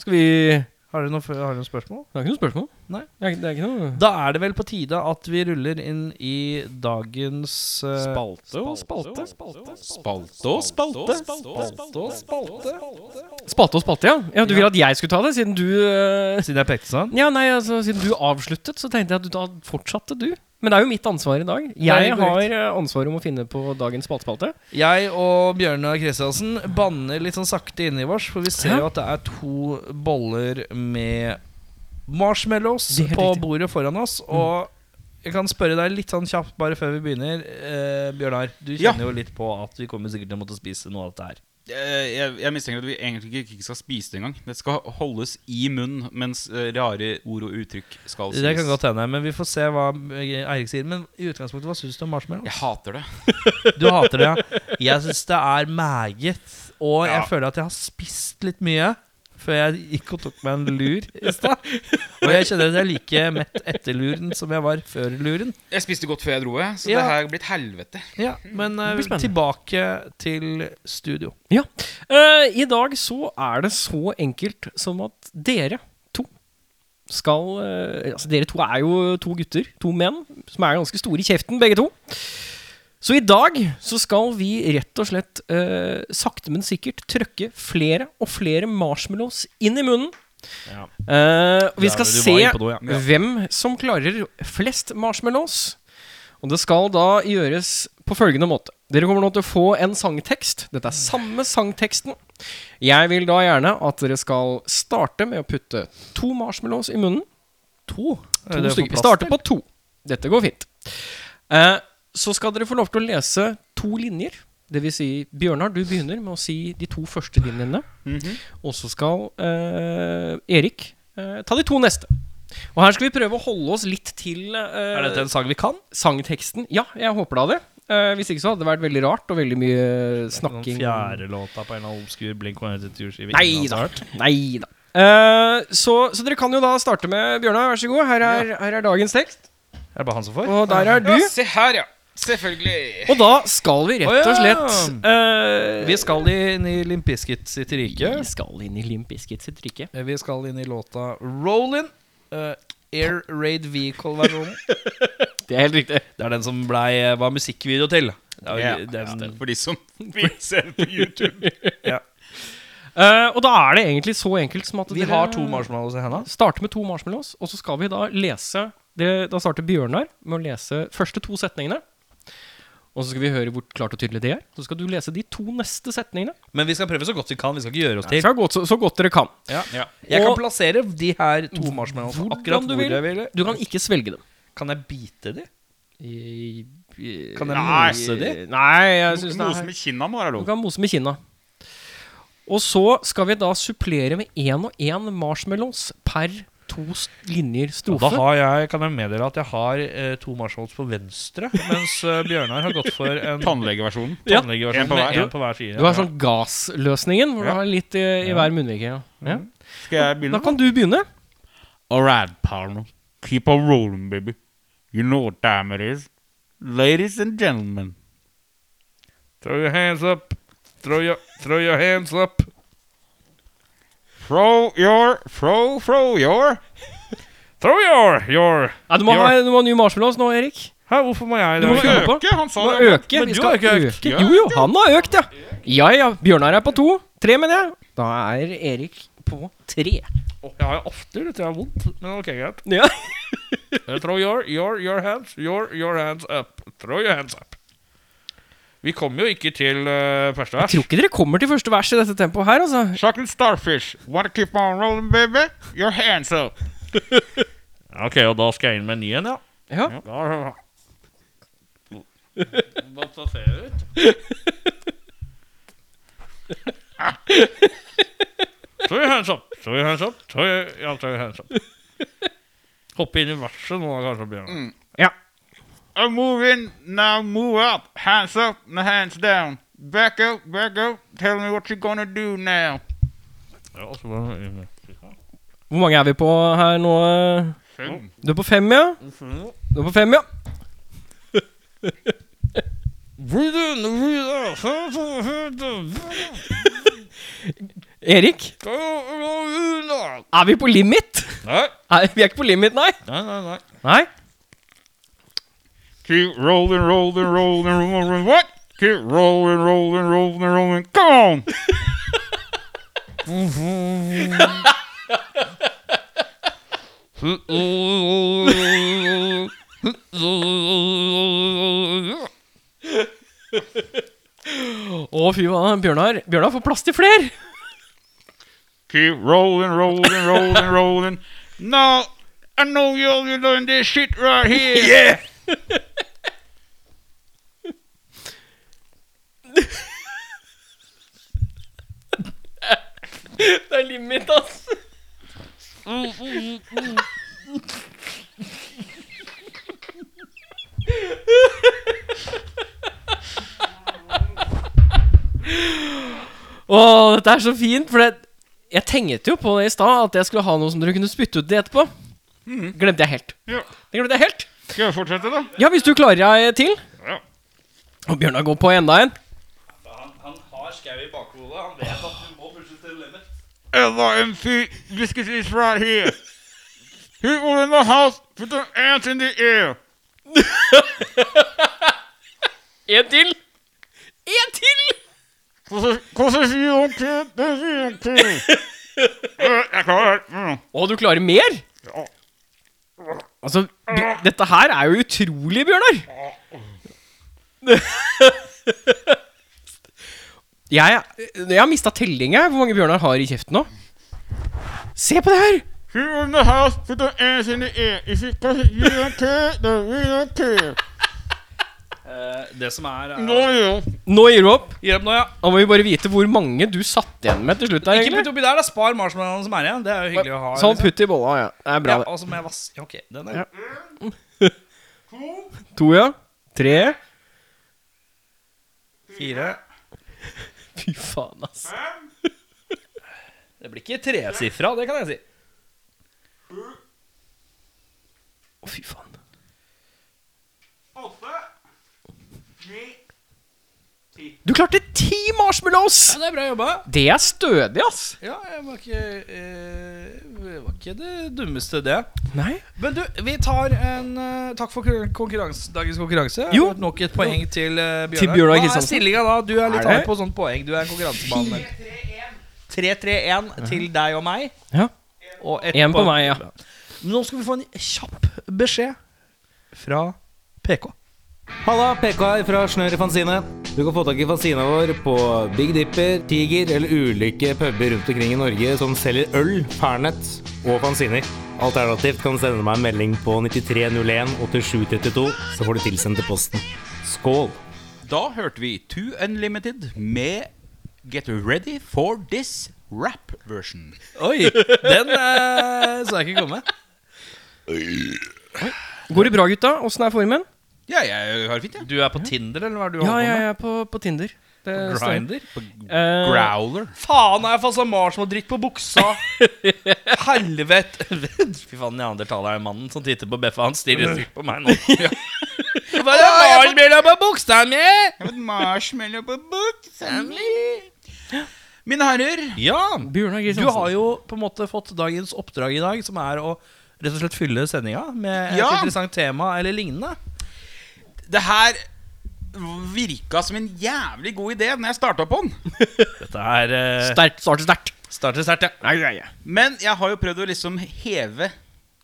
Speaker 1: Skal vi Det
Speaker 2: Har du noen, har du noen spørsmål?
Speaker 1: er ikke noe spørsmål?
Speaker 2: Nei.
Speaker 1: Det er, det er ikke noe
Speaker 2: Da er det vel på tide at vi ruller inn i dagens eh,
Speaker 4: Spalte og spalte.
Speaker 3: Spalte og spalte.
Speaker 4: Spalte og spalte.
Speaker 1: Spalte og spalte, ja. ja du ville at jeg skulle ta det, siden du eh,
Speaker 2: Siden jeg pekte sånn?
Speaker 1: Ja, nei, altså Siden du avsluttet, så tenkte jeg at du, da fortsatte du. Men det er jo mitt ansvar i dag. Jeg
Speaker 2: korrekt.
Speaker 1: har eh, ansvaret om å finne på dagens spaltespalte.
Speaker 2: Jeg og Bjørnar Kristiansen banner litt sånn sakte inni vårs, for vi ser jo at det er to boller med marshmallows
Speaker 1: Det er helt
Speaker 2: på
Speaker 1: riktig. Mm.
Speaker 2: bordet foran oss. Og jeg kan spørre deg litt sånn kjapt bare før vi begynner. Eh, Bjørnar, du
Speaker 3: Ja.
Speaker 2: kjenner jo litt på at vi kommer sikkert til å måtte spise noe av dette her.
Speaker 3: Eh, Jeg, jeg mistenker at vi egentlig ikke ikke skal spise det engang. Det skal holdes i munnen mens eh, rare ord og uttrykk skal sies.
Speaker 2: Det kan godt hende, men vi får se hva Eirik sier. Men i utgangspunktet, hva syns du om marshmallows?
Speaker 3: Jeg hater det.
Speaker 2: Du hater det, ja. Jeg syns det er meget. Og jeg
Speaker 3: Ja.
Speaker 2: føler at jeg har spist litt mye før jeg gikk og tok meg en lur i stad. Og jeg kjenner at jeg er like mett etter luren som jeg var før luren.
Speaker 3: Jeg spiste godt før jeg dro, jeg, så
Speaker 2: Ja.
Speaker 3: det her er blitt helvete.
Speaker 2: Ja, Men
Speaker 1: Det
Speaker 2: eh,
Speaker 1: blir spennende.
Speaker 2: tilbake til studio.
Speaker 1: Ja. Eh, I dag så er det så enkelt som at dere to skal eh, Altså, dere to er jo to gutter, to menn, som er ganske store i kjeften, begge to. Så i dag så skal vi rett og slett eh, sakte, men sikkert trøkke flere og flere marshmallows inn i munnen.
Speaker 2: Ja.
Speaker 1: Eh, og vi
Speaker 2: Der
Speaker 1: skal
Speaker 2: var du
Speaker 1: se
Speaker 2: var inne på noe, ja. Ja.
Speaker 1: hvem som klarer flest marshmallows. Og det skal da gjøres på følgende måte. Dere kommer nå til å få en sangtekst. Dette er samme sangteksten. Jeg vil da gjerne at dere skal starte med å putte to marshmallows i munnen. To?
Speaker 2: Er det for
Speaker 1: stykker. Vi
Speaker 2: plass
Speaker 1: starter
Speaker 2: til?
Speaker 1: på to. Dette går fint. Eh, så skal dere få lov til å lese to linjer. Det vil si, Bjørnar, du begynner med å si de to første linjene.
Speaker 2: Mhm.
Speaker 1: Og så skal eh, Erik eh, ta de to neste. Og her skal vi prøve å holde oss litt til eh,
Speaker 2: Er dette en sang vi kan?
Speaker 1: sangteksten. Ja, jeg håper da det. Eh, hvis ikke så hadde det vært veldig rart og veldig mye snakking.
Speaker 2: Den fjerde låta på en eller annen obskur Blink-182-skive.
Speaker 1: Nei da. Nei da. Eh, så, så dere kan jo da starte med Bjørnar, vær så god. Her er, her er dagens tekst.
Speaker 2: Er det bare han som får?
Speaker 1: Og der er du.
Speaker 3: Ja, se her, ja. Selvfølgelig.
Speaker 1: Og da skal vi rett og
Speaker 2: Å, ja.
Speaker 1: slett eh,
Speaker 2: Vi skal inn i Limp Bizkit sitt rike.
Speaker 1: Vi skal inn i Limp Bizkit sitt rike.
Speaker 2: Eh, Vi skal inn i låta Rollin'. eh, Air Raid Vehicle-versjonen.
Speaker 1: Det er helt riktig.
Speaker 2: Det er den som blei, var musikkvideo til. Det er jo
Speaker 3: Ja,
Speaker 2: den,
Speaker 3: For de som vil se det på YouTube.
Speaker 1: Eh, og da er det egentlig så enkelt som at
Speaker 2: Vi
Speaker 1: dere
Speaker 2: har to marshmallows i henda.
Speaker 1: starter med to marshmallows, og så skal vi da lese det, Da starter Bjørnar med å lese første to setningene. Og så skal vi høre hvor klart og tydelig det er. Så skal du lese de to neste setningene.
Speaker 2: Men vi skal prøve så godt vi kan. Vi skal ikke gjøre oss
Speaker 1: Det
Speaker 2: til.
Speaker 1: er godt, så, så godt dere kan.
Speaker 2: Jeg kan
Speaker 1: Og-
Speaker 2: plassere de her to marshmallowsene
Speaker 1: Hvordan
Speaker 2: akkurat
Speaker 1: du
Speaker 2: hvor
Speaker 1: vil.
Speaker 2: jeg ville.
Speaker 1: Du kan ikke svelge dem.
Speaker 2: Kan jeg bite de?
Speaker 1: Kan
Speaker 2: Kan jeg mose de?
Speaker 1: Nei, jeg syns det
Speaker 3: Noe
Speaker 1: er
Speaker 3: som i kinna må være
Speaker 1: Du
Speaker 3: lov.
Speaker 1: kan mose med kinna. Og så skal vi da supplere med én og én marshmallows per to s- linjer
Speaker 2: Da
Speaker 1: strofe.
Speaker 2: har jeg, kan jeg meddele at jeg har eh, to marshmallows på venstre, mens eh, Bjørnar har gått for en
Speaker 3: Tannlegeversjonen.
Speaker 1: Ja.
Speaker 2: tannlegeversjon
Speaker 3: En på hver.
Speaker 2: med en på hver side.
Speaker 1: Du har sånn gassløsningen, hvor
Speaker 3: Ja.
Speaker 1: du har litt i, i hver munnvike. Ja. Ja.
Speaker 3: Skal jeg
Speaker 1: Da
Speaker 3: begynne?
Speaker 1: kan du begynne.
Speaker 3: Alright, partner. Keep on rolling, baby. You know what time it is. Ladies and gentlemen.
Speaker 2: Throw your hands up. Throw your, throw your hands up.
Speaker 3: Throw your, throw, throw your.
Speaker 2: Throw your, your
Speaker 1: Ja, du må ha du må ha ny marshmallows nå, Erik.
Speaker 2: Hæ, hvorfor må jeg
Speaker 1: Du må
Speaker 2: det?
Speaker 1: kjøre på.
Speaker 3: Øke, han
Speaker 1: Du
Speaker 3: sa
Speaker 1: må
Speaker 3: det.
Speaker 1: øke.
Speaker 2: Men
Speaker 1: Vi
Speaker 2: du
Speaker 1: skal
Speaker 2: har ikke økt.
Speaker 1: øke. Jo, jo, han har økt, ja. Ja, ja. Bjørnar er på to. Tre, mener jeg. Da er Erik på tre.
Speaker 2: Jeg har jo after, dette er vondt. Men ok, greit.
Speaker 1: Ja.
Speaker 2: Eh, Throw your, your, your hands, your, your hands up. Throw your hands up. Vi kom jo ikke til uh, første vers.
Speaker 1: Tror ikke dere kommer til første vers i dette tempoet her, altså.
Speaker 3: Chocolate starfish. Wanna keep on rolling, baby? Your hands up.
Speaker 2: Ok, og da skal jeg inn med en ny en, ja.
Speaker 1: Ja.
Speaker 2: Da- Hva ser det ut? Throw your hands up, throw your hands up, throw your, ja, throw your hands up. Hoppe inn i verset nå, da, kanskje, Bjørnar.
Speaker 3: I'm moving, now move up. Hands up, now hands down. Back up, back up. Tell me what you're gonna do now. er
Speaker 2: Ja, så bare inn med-
Speaker 1: Hvor mange er vi på her nå?
Speaker 3: Fem.
Speaker 1: Du er på fem, ja? Du er på fem, ja. Erik,
Speaker 2: Nei,
Speaker 1: er vi på limit? Nei, vi er ikke på limit, nei.
Speaker 2: nei, nei, nei.
Speaker 1: Nei?
Speaker 3: Keep rolling, rolling, rolling, rolling, rolling. What? Keep rolling, rolling, rolling, rolling. Come on.
Speaker 1: Å, fy faen. Bjørnar Bjørnar får plass til fler.
Speaker 3: Keep rolling, rolling, rolling, rolling. Now, I know y'all are doing this shit right here. Yeah.
Speaker 1: Det er limit, ass. Å, dette er så fint, for det, jeg tenkte jo på det i stad, at jeg skulle ha noe som dere kunne spytte ut i etterpå. Glemte jeg helt.
Speaker 3: Ja.
Speaker 1: Det glemte jeg helt.
Speaker 3: Skal jeg fortsette, da?
Speaker 1: Ja, hvis du klarer deg til.
Speaker 3: Ja.
Speaker 1: Og Bjørnar går på enda en.
Speaker 2: Han, han har skau i bakhodet. Han vet at du må pushe til limit.
Speaker 3: LRMC, biscuits is right here. People in the house, put their hands in the air.
Speaker 1: En til. En til!
Speaker 3: Because if you don't care, then you don't care. Ja, Øh, Jeg klarer det. Mm.
Speaker 1: Å, du klarer mer?
Speaker 3: Ja.
Speaker 1: Altså, Bj- dette her er jo utrolig, Bjørnar. Jeg, jeg har mista tellinga. Hvor mange Bjørnar har i kjeften nå? Se på det her!
Speaker 3: People in the house, put their hands in the air. If you, cause you don't care, then you don't care.
Speaker 2: Eh, det som er, er
Speaker 3: Nå, ja.
Speaker 1: Nå gir du opp.
Speaker 2: Gi opp nå, ja.
Speaker 1: Da må vi bare vite hvor mange du satt igjen med til slutt. der,
Speaker 2: Ikke putt
Speaker 1: egentlig
Speaker 2: oppi der, da. Spar marshmallowene som er igjen. Det er jo hyggelig å ha.
Speaker 1: Sånn,
Speaker 2: liksom.
Speaker 1: putt i bolla. Ja. Det er bra,
Speaker 2: ja,
Speaker 1: det.
Speaker 2: og så må jeg vass- ja, ok, den er
Speaker 1: To, ja. Tre.
Speaker 2: Fire.
Speaker 1: Fy faen, ass.
Speaker 2: Det blir ikke tresifra, det kan jeg si.
Speaker 1: Å, fy faen.
Speaker 3: Åtte. Ni.
Speaker 1: Du klarte ti marshmallows!
Speaker 2: Ja, det er bra jobba.
Speaker 1: Det er stødig, ass.
Speaker 2: Ja, jeg var ikke, eh, det var ikke det dummeste, det.
Speaker 1: Nei.
Speaker 2: Men du, vi tar en eh, Takk for konkurranse- dagens konkurranse.
Speaker 1: Jo.
Speaker 2: Det var Nok et poeng til eh, Bjørnar.
Speaker 1: Til Bjørnar
Speaker 2: Hva er
Speaker 1: Kristiansen.
Speaker 2: stillinga da? Du er litt
Speaker 1: Er det?
Speaker 2: hard på sånt poeng. Du er en konkurransebane. 3-3-1 til deg og meg.
Speaker 1: Ja.
Speaker 2: Og ett
Speaker 1: Én på
Speaker 2: poeng.
Speaker 1: meg, ja.
Speaker 2: Nå skal vi få en kjapp beskjed fra PK.
Speaker 5: Halla, PK her fra Snør i Fanzine. Du kan få tak i fanzina vår på Big Dipper, Tiger eller ulike puber rundt omkring i Norge som selger øl, Fernet og fanziner. Alternativt kan du sende meg en melding på 9301 8732, så får du tilsendt til posten. Skål!
Speaker 3: Da hørte vi Two Unlimited med Get Ready for This Rap-version.
Speaker 2: Oi! Den eh, så jeg ikke komme.
Speaker 1: Går det bra, gutta? Åssen er formen?
Speaker 3: Ja, jeg har det fint, jeg.
Speaker 2: Du er på Tinder, eller hva er det du
Speaker 1: Ja,
Speaker 2: holder på
Speaker 1: jeg
Speaker 2: med?
Speaker 1: er på, på Tinder. Det stemmer.
Speaker 2: Grinder?
Speaker 1: Eh,
Speaker 3: Growler.
Speaker 2: Faen, har jeg fått sånn marshmallow-dritt på buksa? Helvete! Fy faen, neandertaleren mannen som titter på Beffa, han stirrer stygt på meg nå. Hva er det marshmallow på buksa mi?
Speaker 3: Jeg har fått marshmallow på buksa mi. Mine herrer,
Speaker 2: Ja,
Speaker 1: Bjørnar
Speaker 2: du
Speaker 1: Kristiansen.
Speaker 2: har jo på en måte fått dagens oppdrag i dag, som er å rett og slett fylle sendinga med et
Speaker 3: Ja.
Speaker 2: interessant tema eller lignende.
Speaker 3: det her virka som en jævlig god idé når jeg starta på den.
Speaker 2: Dette er eh,
Speaker 1: Sterkt. Starter sterkt.
Speaker 2: starter sterkt, ja.
Speaker 3: Men jeg har jo prøvd å liksom heve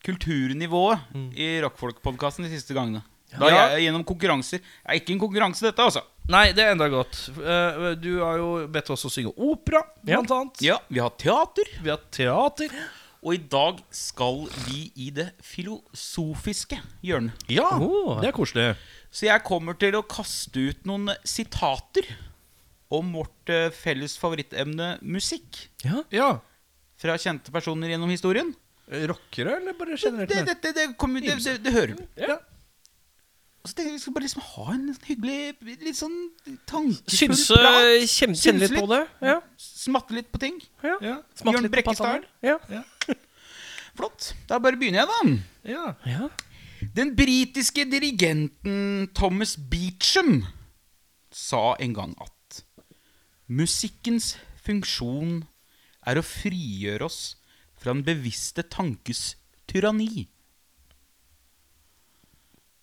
Speaker 3: kulturnivået i Rockfolk-podkasten de siste gangene. Da
Speaker 2: Ja.
Speaker 3: jeg Gjennom konkurranser. Det er ikke en konkurranse, dette, altså.
Speaker 2: Nei, det er enda godt. Eh, Du har jo bedt oss å synge opera, blant annet.
Speaker 3: Ja, Vi har teater.
Speaker 2: Vi har teater.
Speaker 3: Og i dag skal vi i det filosofiske hjørnet.
Speaker 2: Ja,
Speaker 1: Åh.
Speaker 2: det er koselig.
Speaker 3: Så jeg kommer til å kaste ut noen sitater om vårt eh, felles favorittemne musikk.
Speaker 1: Ja.
Speaker 2: Ja.
Speaker 3: Fra kjente personer gjennom historien.
Speaker 2: Rockere, eller bare
Speaker 3: Det,
Speaker 2: generelt?
Speaker 3: det, det, det, kommer- det, det, det hører du.
Speaker 2: Ja.
Speaker 3: Og så tenkte jeg vi skal bare liksom ha en sånn hyggelig, litt sånn tankefull
Speaker 1: Syns
Speaker 3: prat.
Speaker 1: eh, kjem, Kjenner litt
Speaker 3: Syns
Speaker 1: på det. Ja.
Speaker 3: Smatte litt på ting.
Speaker 1: ja.
Speaker 2: Ja.
Speaker 1: Smaker
Speaker 3: Bjørn
Speaker 1: litt på fasaden.
Speaker 3: Brekkestad.
Speaker 1: Ja.
Speaker 3: Flott. Da bare begynner jeg, da.
Speaker 2: ja.
Speaker 1: ja.
Speaker 3: Den britiske dirigenten Thomas Beecham sa en gang at musikkens funksjon er å frigjøre oss fra den bevisste tankes tyranni.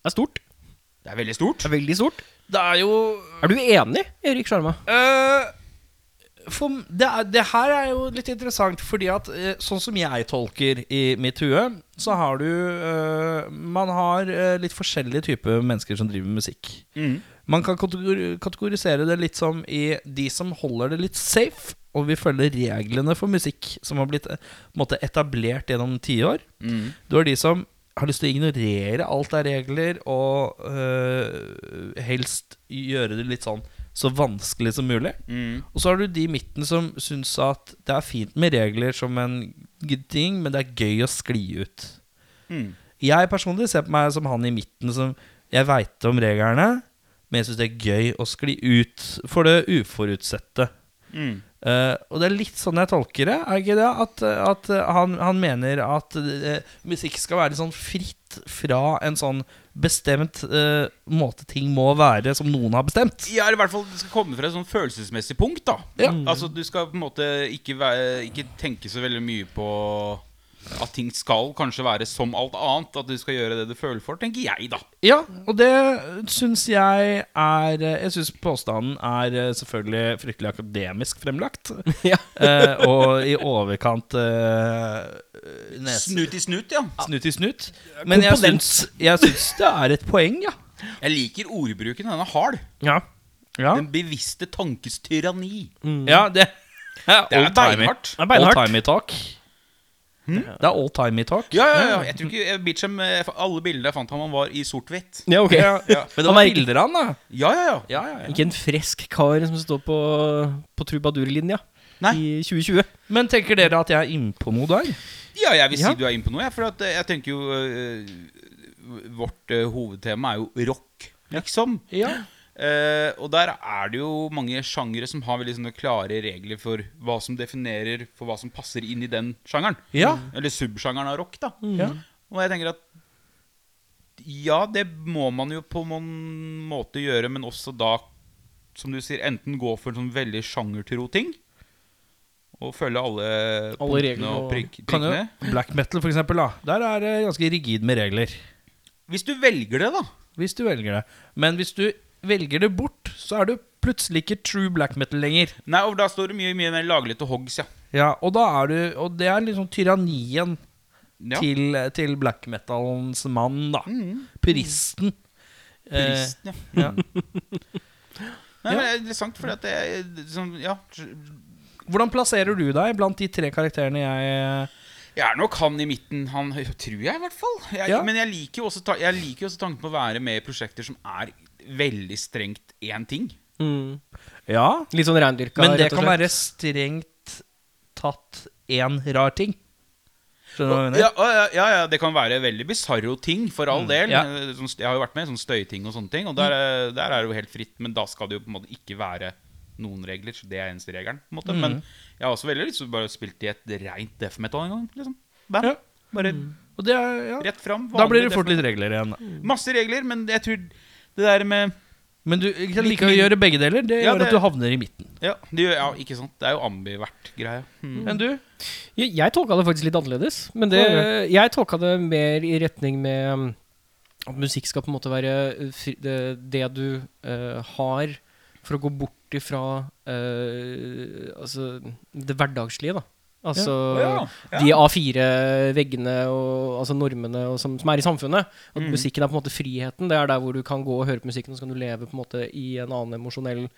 Speaker 1: Det er stort.
Speaker 3: Det er veldig stort.
Speaker 1: Det er veldig stort.
Speaker 2: Det er jo
Speaker 1: Er du enig, Erik Sjarma?
Speaker 2: øh, for, det, er, det her er jo litt interessant, fordi at eh, sånn som jeg tolker i mitt hue, så har du øh, Man har eh, litt forskjellige typer mennesker som driver med musikk. Man kan kategor- kategorisere det litt som i de som holder det litt safe, og vil følge reglene for musikk, som har blitt eh, på en måte, etablert gjennom tiår. Du har de som har lyst til å ignorere alt av regler, og øh, helst gjøre det litt sånn så vanskelig som mulig.
Speaker 3: Mm.
Speaker 2: Og så har du de i midten som syns at det er fint med regler som en good ting, men det er gøy å skli ut.
Speaker 3: Mm.
Speaker 2: Jeg personlig ser på meg som han i midten som Jeg veit om reglene, men jeg syns det er gøy å skli ut for det uforutsette.
Speaker 3: Mm.
Speaker 2: Eh, og det er litt sånn jeg tolker det. Er ikke det? At, at han, han mener at eh, musikk skal være litt sånn fritt fra en sånn bestemt eh, måte ting må være, som noen har bestemt.
Speaker 3: Ja, eller i hvert fall det skal komme fra et sånn følelsesmessig punkt. da
Speaker 2: Ja.
Speaker 3: Altså Du skal på en måte ikke, være, ikke tenke så veldig mye på at ting skal kanskje være som alt annet. At du skal gjøre det du føler for, tenker jeg, da.
Speaker 2: Ja, og det syns jeg er Jeg syns påstanden er eh, selvfølgelig fryktelig akademisk fremlagt.
Speaker 1: Ja.
Speaker 2: eh, og i overkant eh, nes-
Speaker 3: Snut i snut, ja.
Speaker 2: Snut i snut. Men jeg
Speaker 1: Komponent.
Speaker 2: syns, jeg syns det er et poeng, ja.
Speaker 3: Jeg liker ordbruken. Den er hard.
Speaker 2: Ja, ja.
Speaker 3: Den bevisste tankes tyranni.
Speaker 1: Mm.
Speaker 2: ja det,
Speaker 3: Det er beinhardt.
Speaker 1: Det er beinhardt.
Speaker 2: Old timey talk. Det er old timey talk.
Speaker 3: Ja, ja, ja. Jeg tror ikke jeg- Beecham, eh, Alle bilder jeg fant av han var i sort-hvitt.
Speaker 1: Ja, ok.
Speaker 3: Ja.
Speaker 2: Men
Speaker 1: Han
Speaker 2: det var
Speaker 1: er ikke-
Speaker 2: bilder av han, da.
Speaker 3: Ja, ja, ja.
Speaker 2: Ja, ja, ja.
Speaker 1: Ikke en fresk kar som står på, på trubadurlinja
Speaker 3: Nei.
Speaker 1: i 2020.
Speaker 2: Men tenker dere at jeg er innpå noe der?
Speaker 3: ja jeg vil si
Speaker 1: Ja.
Speaker 3: du er inne på noe, jeg. For at, eh, jeg tenker jo eh, Vårt eh, hovedtema er jo rock, liksom.
Speaker 2: Ja.
Speaker 3: Eh, Eh, og der er det jo mange sjangere som har veldig sånne klare regler for hva som definerer for hva som passer inn i den sjangeren.
Speaker 2: Ja.
Speaker 3: Eller subsjangeren av rock, da.
Speaker 1: Mm.
Speaker 2: Ja.
Speaker 3: Og jeg tenker at ja, det må man jo på noen måte gjøre, men også da, som du sier, enten gå for en sånn veldig sjangertro ting og følge alle,
Speaker 1: reglene og-
Speaker 3: og prikk,
Speaker 2: Kan jo,
Speaker 3: prikkene.
Speaker 2: black metal, for eksempel, da. Der er det ganske rigid med regler.
Speaker 3: Hvis du velger det, da.
Speaker 2: Hvis du velger det. Men hvis du velger det bort, så er du plutselig ikke true black metal lenger.
Speaker 3: Nei, og da står det mye, mye mer laglete hogs, ja.
Speaker 2: Ja, Og da er du Og det er liksom tyrannien
Speaker 3: ja.
Speaker 2: til, til black metalens mann, da. Puristen. Eh,
Speaker 3: Puristen, ja.
Speaker 2: ja. Ja.
Speaker 3: Nei, men det er interessant, fordi at det er sånn, ja
Speaker 2: Hvordan plasserer du deg blant de tre karakterene jeg eh,
Speaker 3: Jeg er nok han i midten, han tror jeg i hvert fall. Jeg,
Speaker 2: Ja.
Speaker 3: Men jeg liker, jo også, ta- jeg liker jo også tanken på å være med i prosjekter som er veldig strengt én ting.
Speaker 1: Mm.
Speaker 2: Ja,
Speaker 1: Litt sånn reindyrka,
Speaker 2: Men det
Speaker 1: rett og
Speaker 2: kan
Speaker 1: slett.
Speaker 2: være strengt tatt én rar ting. Skjønner du hva jeg mener?
Speaker 3: Ja, ja, ja, ja, det kan være veldig bisarro ting, for all del.
Speaker 2: ja. Mm.
Speaker 3: Eh, sånn- Jeg har jo vært med i sånn støyting og sånne ting, og der, eh, der er det jo helt fritt. Men da skal det jo på en måte ikke være noen regler, så det er eneste regelen. på en måte
Speaker 2: Mm.
Speaker 3: Men jeg har også veldig lyst til å bare spilt i et rent death metal en gang. Liksom. Band.
Speaker 2: Ja.
Speaker 3: Bare
Speaker 2: Og det er, ja.
Speaker 3: rett fram.
Speaker 2: Da blir
Speaker 3: vanlig
Speaker 2: det fort
Speaker 3: death
Speaker 2: litt regler igjen. da.
Speaker 3: metal. Masse regler, men jeg tror det der med
Speaker 2: Men du kan like å gjøre begge deler. Det
Speaker 3: Ja,
Speaker 2: gjør
Speaker 3: det-
Speaker 2: at du havner i midten.
Speaker 3: Ja, det, gjør- ja ikke sant. Det er jo ambivert-greia. Mm.
Speaker 2: Enn du?
Speaker 1: Jeg, jeg tolka det faktisk litt annerledes. Men det, jeg tolka det mer i retning med um, at musikk skal på en måte være uh, fri- det, det du eh, har for å gå bort ifra eh, altså, det hverdagslige, da. Altså
Speaker 3: Ja. Ja.
Speaker 1: de A4-veggene og altså normene og som, som er i samfunnet. At
Speaker 3: Mm.
Speaker 1: musikken er på en måte friheten. Det er der hvor du kan gå og høre på musikken, og så kan du leve på en måte i en annen emosjonell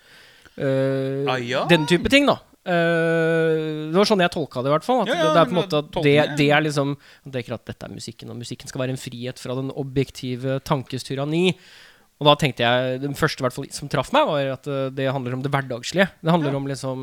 Speaker 1: eh,
Speaker 3: Ah, ja.
Speaker 1: Den type ting, da. Eh, det var sånn jeg tolka det, i hvert fall. At
Speaker 3: Ja, ja,
Speaker 1: det, det er på en
Speaker 3: men
Speaker 1: måte at det,
Speaker 3: tolkningen-
Speaker 1: det er liksom Det er ikke at dette er musikken, og musikken skal være en frihet fra den objektive tankes tyranni. Og da tenkte jeg Den første i hvert fall som traff meg, var at eh, det handler om det hverdagslige. Det handler om liksom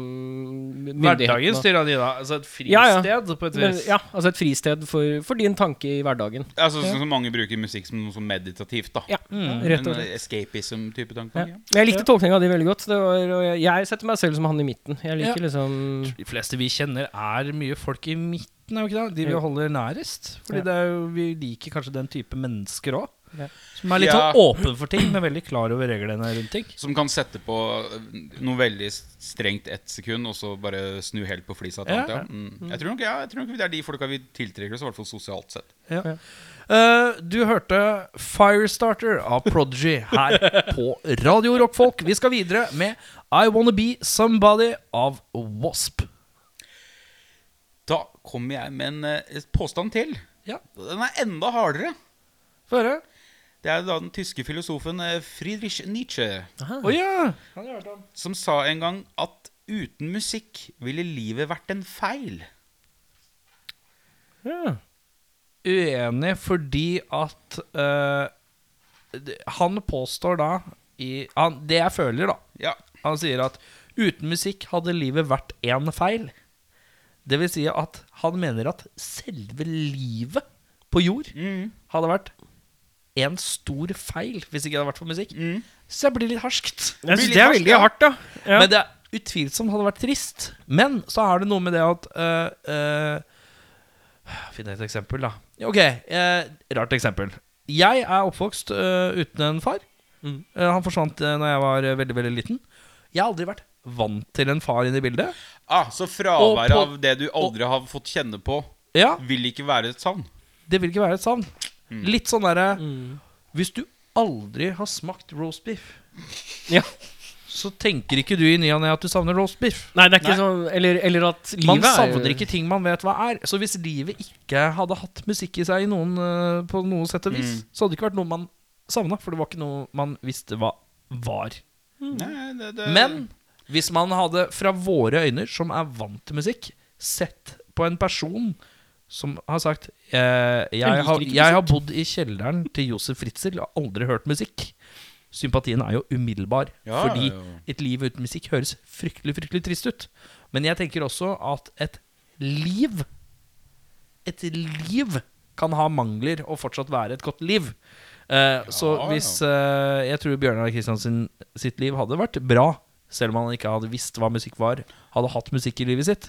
Speaker 1: myndighetene.
Speaker 2: Hverdagens tyranni, da. Altså et
Speaker 1: Ja, ja.
Speaker 2: fristed, på et
Speaker 1: Men,
Speaker 2: vis.
Speaker 1: ja, altså et fristed for, for din tanke i hverdagen.
Speaker 3: Altså, sånn som mange bruker musikk som noe sånn meditativt, da.
Speaker 1: Ja,
Speaker 3: eh,
Speaker 2: Mm.
Speaker 1: rett og slett.
Speaker 3: Escapism-type
Speaker 1: Ja.
Speaker 3: tankegang. Ja.
Speaker 1: Men Jeg likte tolkninga di veldig godt. Det var, og jeg, jeg setter meg selv som han i midten. Jeg liker liksom
Speaker 2: De fleste vi kjenner, er mye folk i midten, er vi ikke det? De vi
Speaker 1: Jo.
Speaker 2: holder nærest. Fordi
Speaker 1: Ja.
Speaker 2: det er jo, vi liker kanskje den type mennesker òg.
Speaker 1: Ja.
Speaker 2: Som er litt
Speaker 3: Ja.
Speaker 2: sånn åpen for ting, men veldig klar over reglene rundt ting.
Speaker 3: Som kan sette på øh, noe veldig strengt ett sekund, og så bare snu helt på flisa. et
Speaker 2: Ja.
Speaker 3: annet, Ja. Mm. Jeg tror nok ja, jeg tror nok det er de folka vi tiltrekker oss, i hvert fall sosialt sett.
Speaker 2: Eh, du hørte Firestarter av Prodigy her på Radio Rock, folk. Vi skal videre med I Wanna Be Somebody av Wasp.
Speaker 3: Da kommer jeg med en eh, påstand til.
Speaker 2: Ja.
Speaker 3: Den er enda hardere.
Speaker 2: Få høre.
Speaker 3: Det er da den tyske filosofen eh, Friedrich Nietzsche
Speaker 2: Å ja.
Speaker 3: som sa en gang at uten musikk ville livet vært en feil.
Speaker 1: ja.
Speaker 2: Uenig fordi at eh, det- Han påstår da i han, Det jeg føler, da.
Speaker 3: Ja,
Speaker 2: Han sier at uten musikk hadde livet vært én feil. Det vil si at han mener at selve livet på jord
Speaker 3: Mm.
Speaker 2: hadde vært en stor feil hvis ikke det hadde vært for musikk. Så jeg blir litt harskt.
Speaker 1: Jeg
Speaker 3: Blir
Speaker 1: synes
Speaker 3: litt
Speaker 1: det er
Speaker 3: harsk,
Speaker 1: veldig
Speaker 3: ja.
Speaker 1: hardt, da. Ja.
Speaker 2: Men det er utvilsomt hadde vært trist. Men så er det noe med det at øh, øh, Finn et eksempel, da. Ok, eh, rart eksempel. Jeg er oppvokst øh, uten en far.
Speaker 1: Mm.
Speaker 2: Eh, han forsvant uh, når jeg var eh, veldig, veldig liten. Jeg har aldri vært vant til en far inne i bildet.
Speaker 3: Ah, så
Speaker 2: Og
Speaker 3: fraværet
Speaker 2: på-
Speaker 3: av det du aldri har fått kjenne på,
Speaker 2: Ja,
Speaker 3: vil ikke være et savn.
Speaker 2: Det vil ikke være et savn.
Speaker 1: Mm.
Speaker 2: Litt sånn derre Hvis du aldri har smakt roast beef,
Speaker 1: Ja.
Speaker 2: så tenker ikke du i ny og ne at du savner roast beef.
Speaker 1: Nei, det er ikke sånn Eller, eller at livet
Speaker 2: Man
Speaker 1: er-
Speaker 2: savner ikke ting man vet hva er. Så hvis livet ikke hadde hatt musikk i seg i noen, eh, på noe sett og
Speaker 1: Mm.
Speaker 2: vis, så hadde det ikke vært noe man savna, for det var ikke noe man visste hva var.
Speaker 3: Nei, det, det,
Speaker 2: Mm. Men hvis man hadde, fra våre øyne, som er vant til musikk, sett på en person som har sagt eh, jeg,
Speaker 1: liker
Speaker 2: har,
Speaker 1: ikke
Speaker 2: jeg har bodd i kjelleren til Josef Fritzel og aldri hørt musikk. Sympatien er jo umiddelbar,
Speaker 3: Ja,
Speaker 2: fordi
Speaker 3: ja, ja.
Speaker 2: et liv uten musikk høres fryktelig, fryktelig trist ut. Men jeg tenker også at et liv Et liv kan ha mangler og fortsatt være et godt liv. Eh, så hvis eh, Jeg tror Bjørnar Kristiansen sitt liv hadde vært bra, selv om han ikke hadde visst hva musikk var, hadde hatt musikk i livet sitt.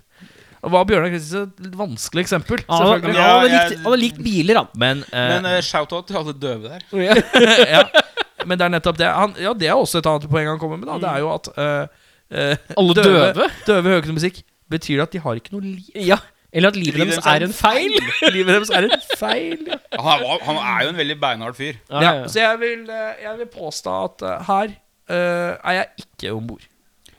Speaker 2: Og var Bjørnar Kristiansen et litt vanskelig eksempel,
Speaker 1: Han hadde-
Speaker 2: selvfølgelig.
Speaker 1: han hadde
Speaker 3: Ja,
Speaker 1: likt-
Speaker 3: jeg-
Speaker 1: han hadde likt biler, han.
Speaker 2: Men, eh,
Speaker 3: Men eh, shout-out til alle døve der.
Speaker 2: ja. Men det er nettopp det. Han, ja, det er også et annet poeng han kommer med. Da. Det er jo at eh, eh,
Speaker 1: Alle døve?
Speaker 2: døve hører ikke noe musikk. Betyr det at de har ikke noe liv?
Speaker 1: Ja. Eller at livet deres er en feil.
Speaker 2: Livet deres er en feil. Ja.
Speaker 3: Han er, han er jo en veldig beinhard fyr.
Speaker 1: Ja, ja, ja.
Speaker 2: Så jeg vil, eh, jeg vil påstå at eh, her eh, er jeg ikke om bord.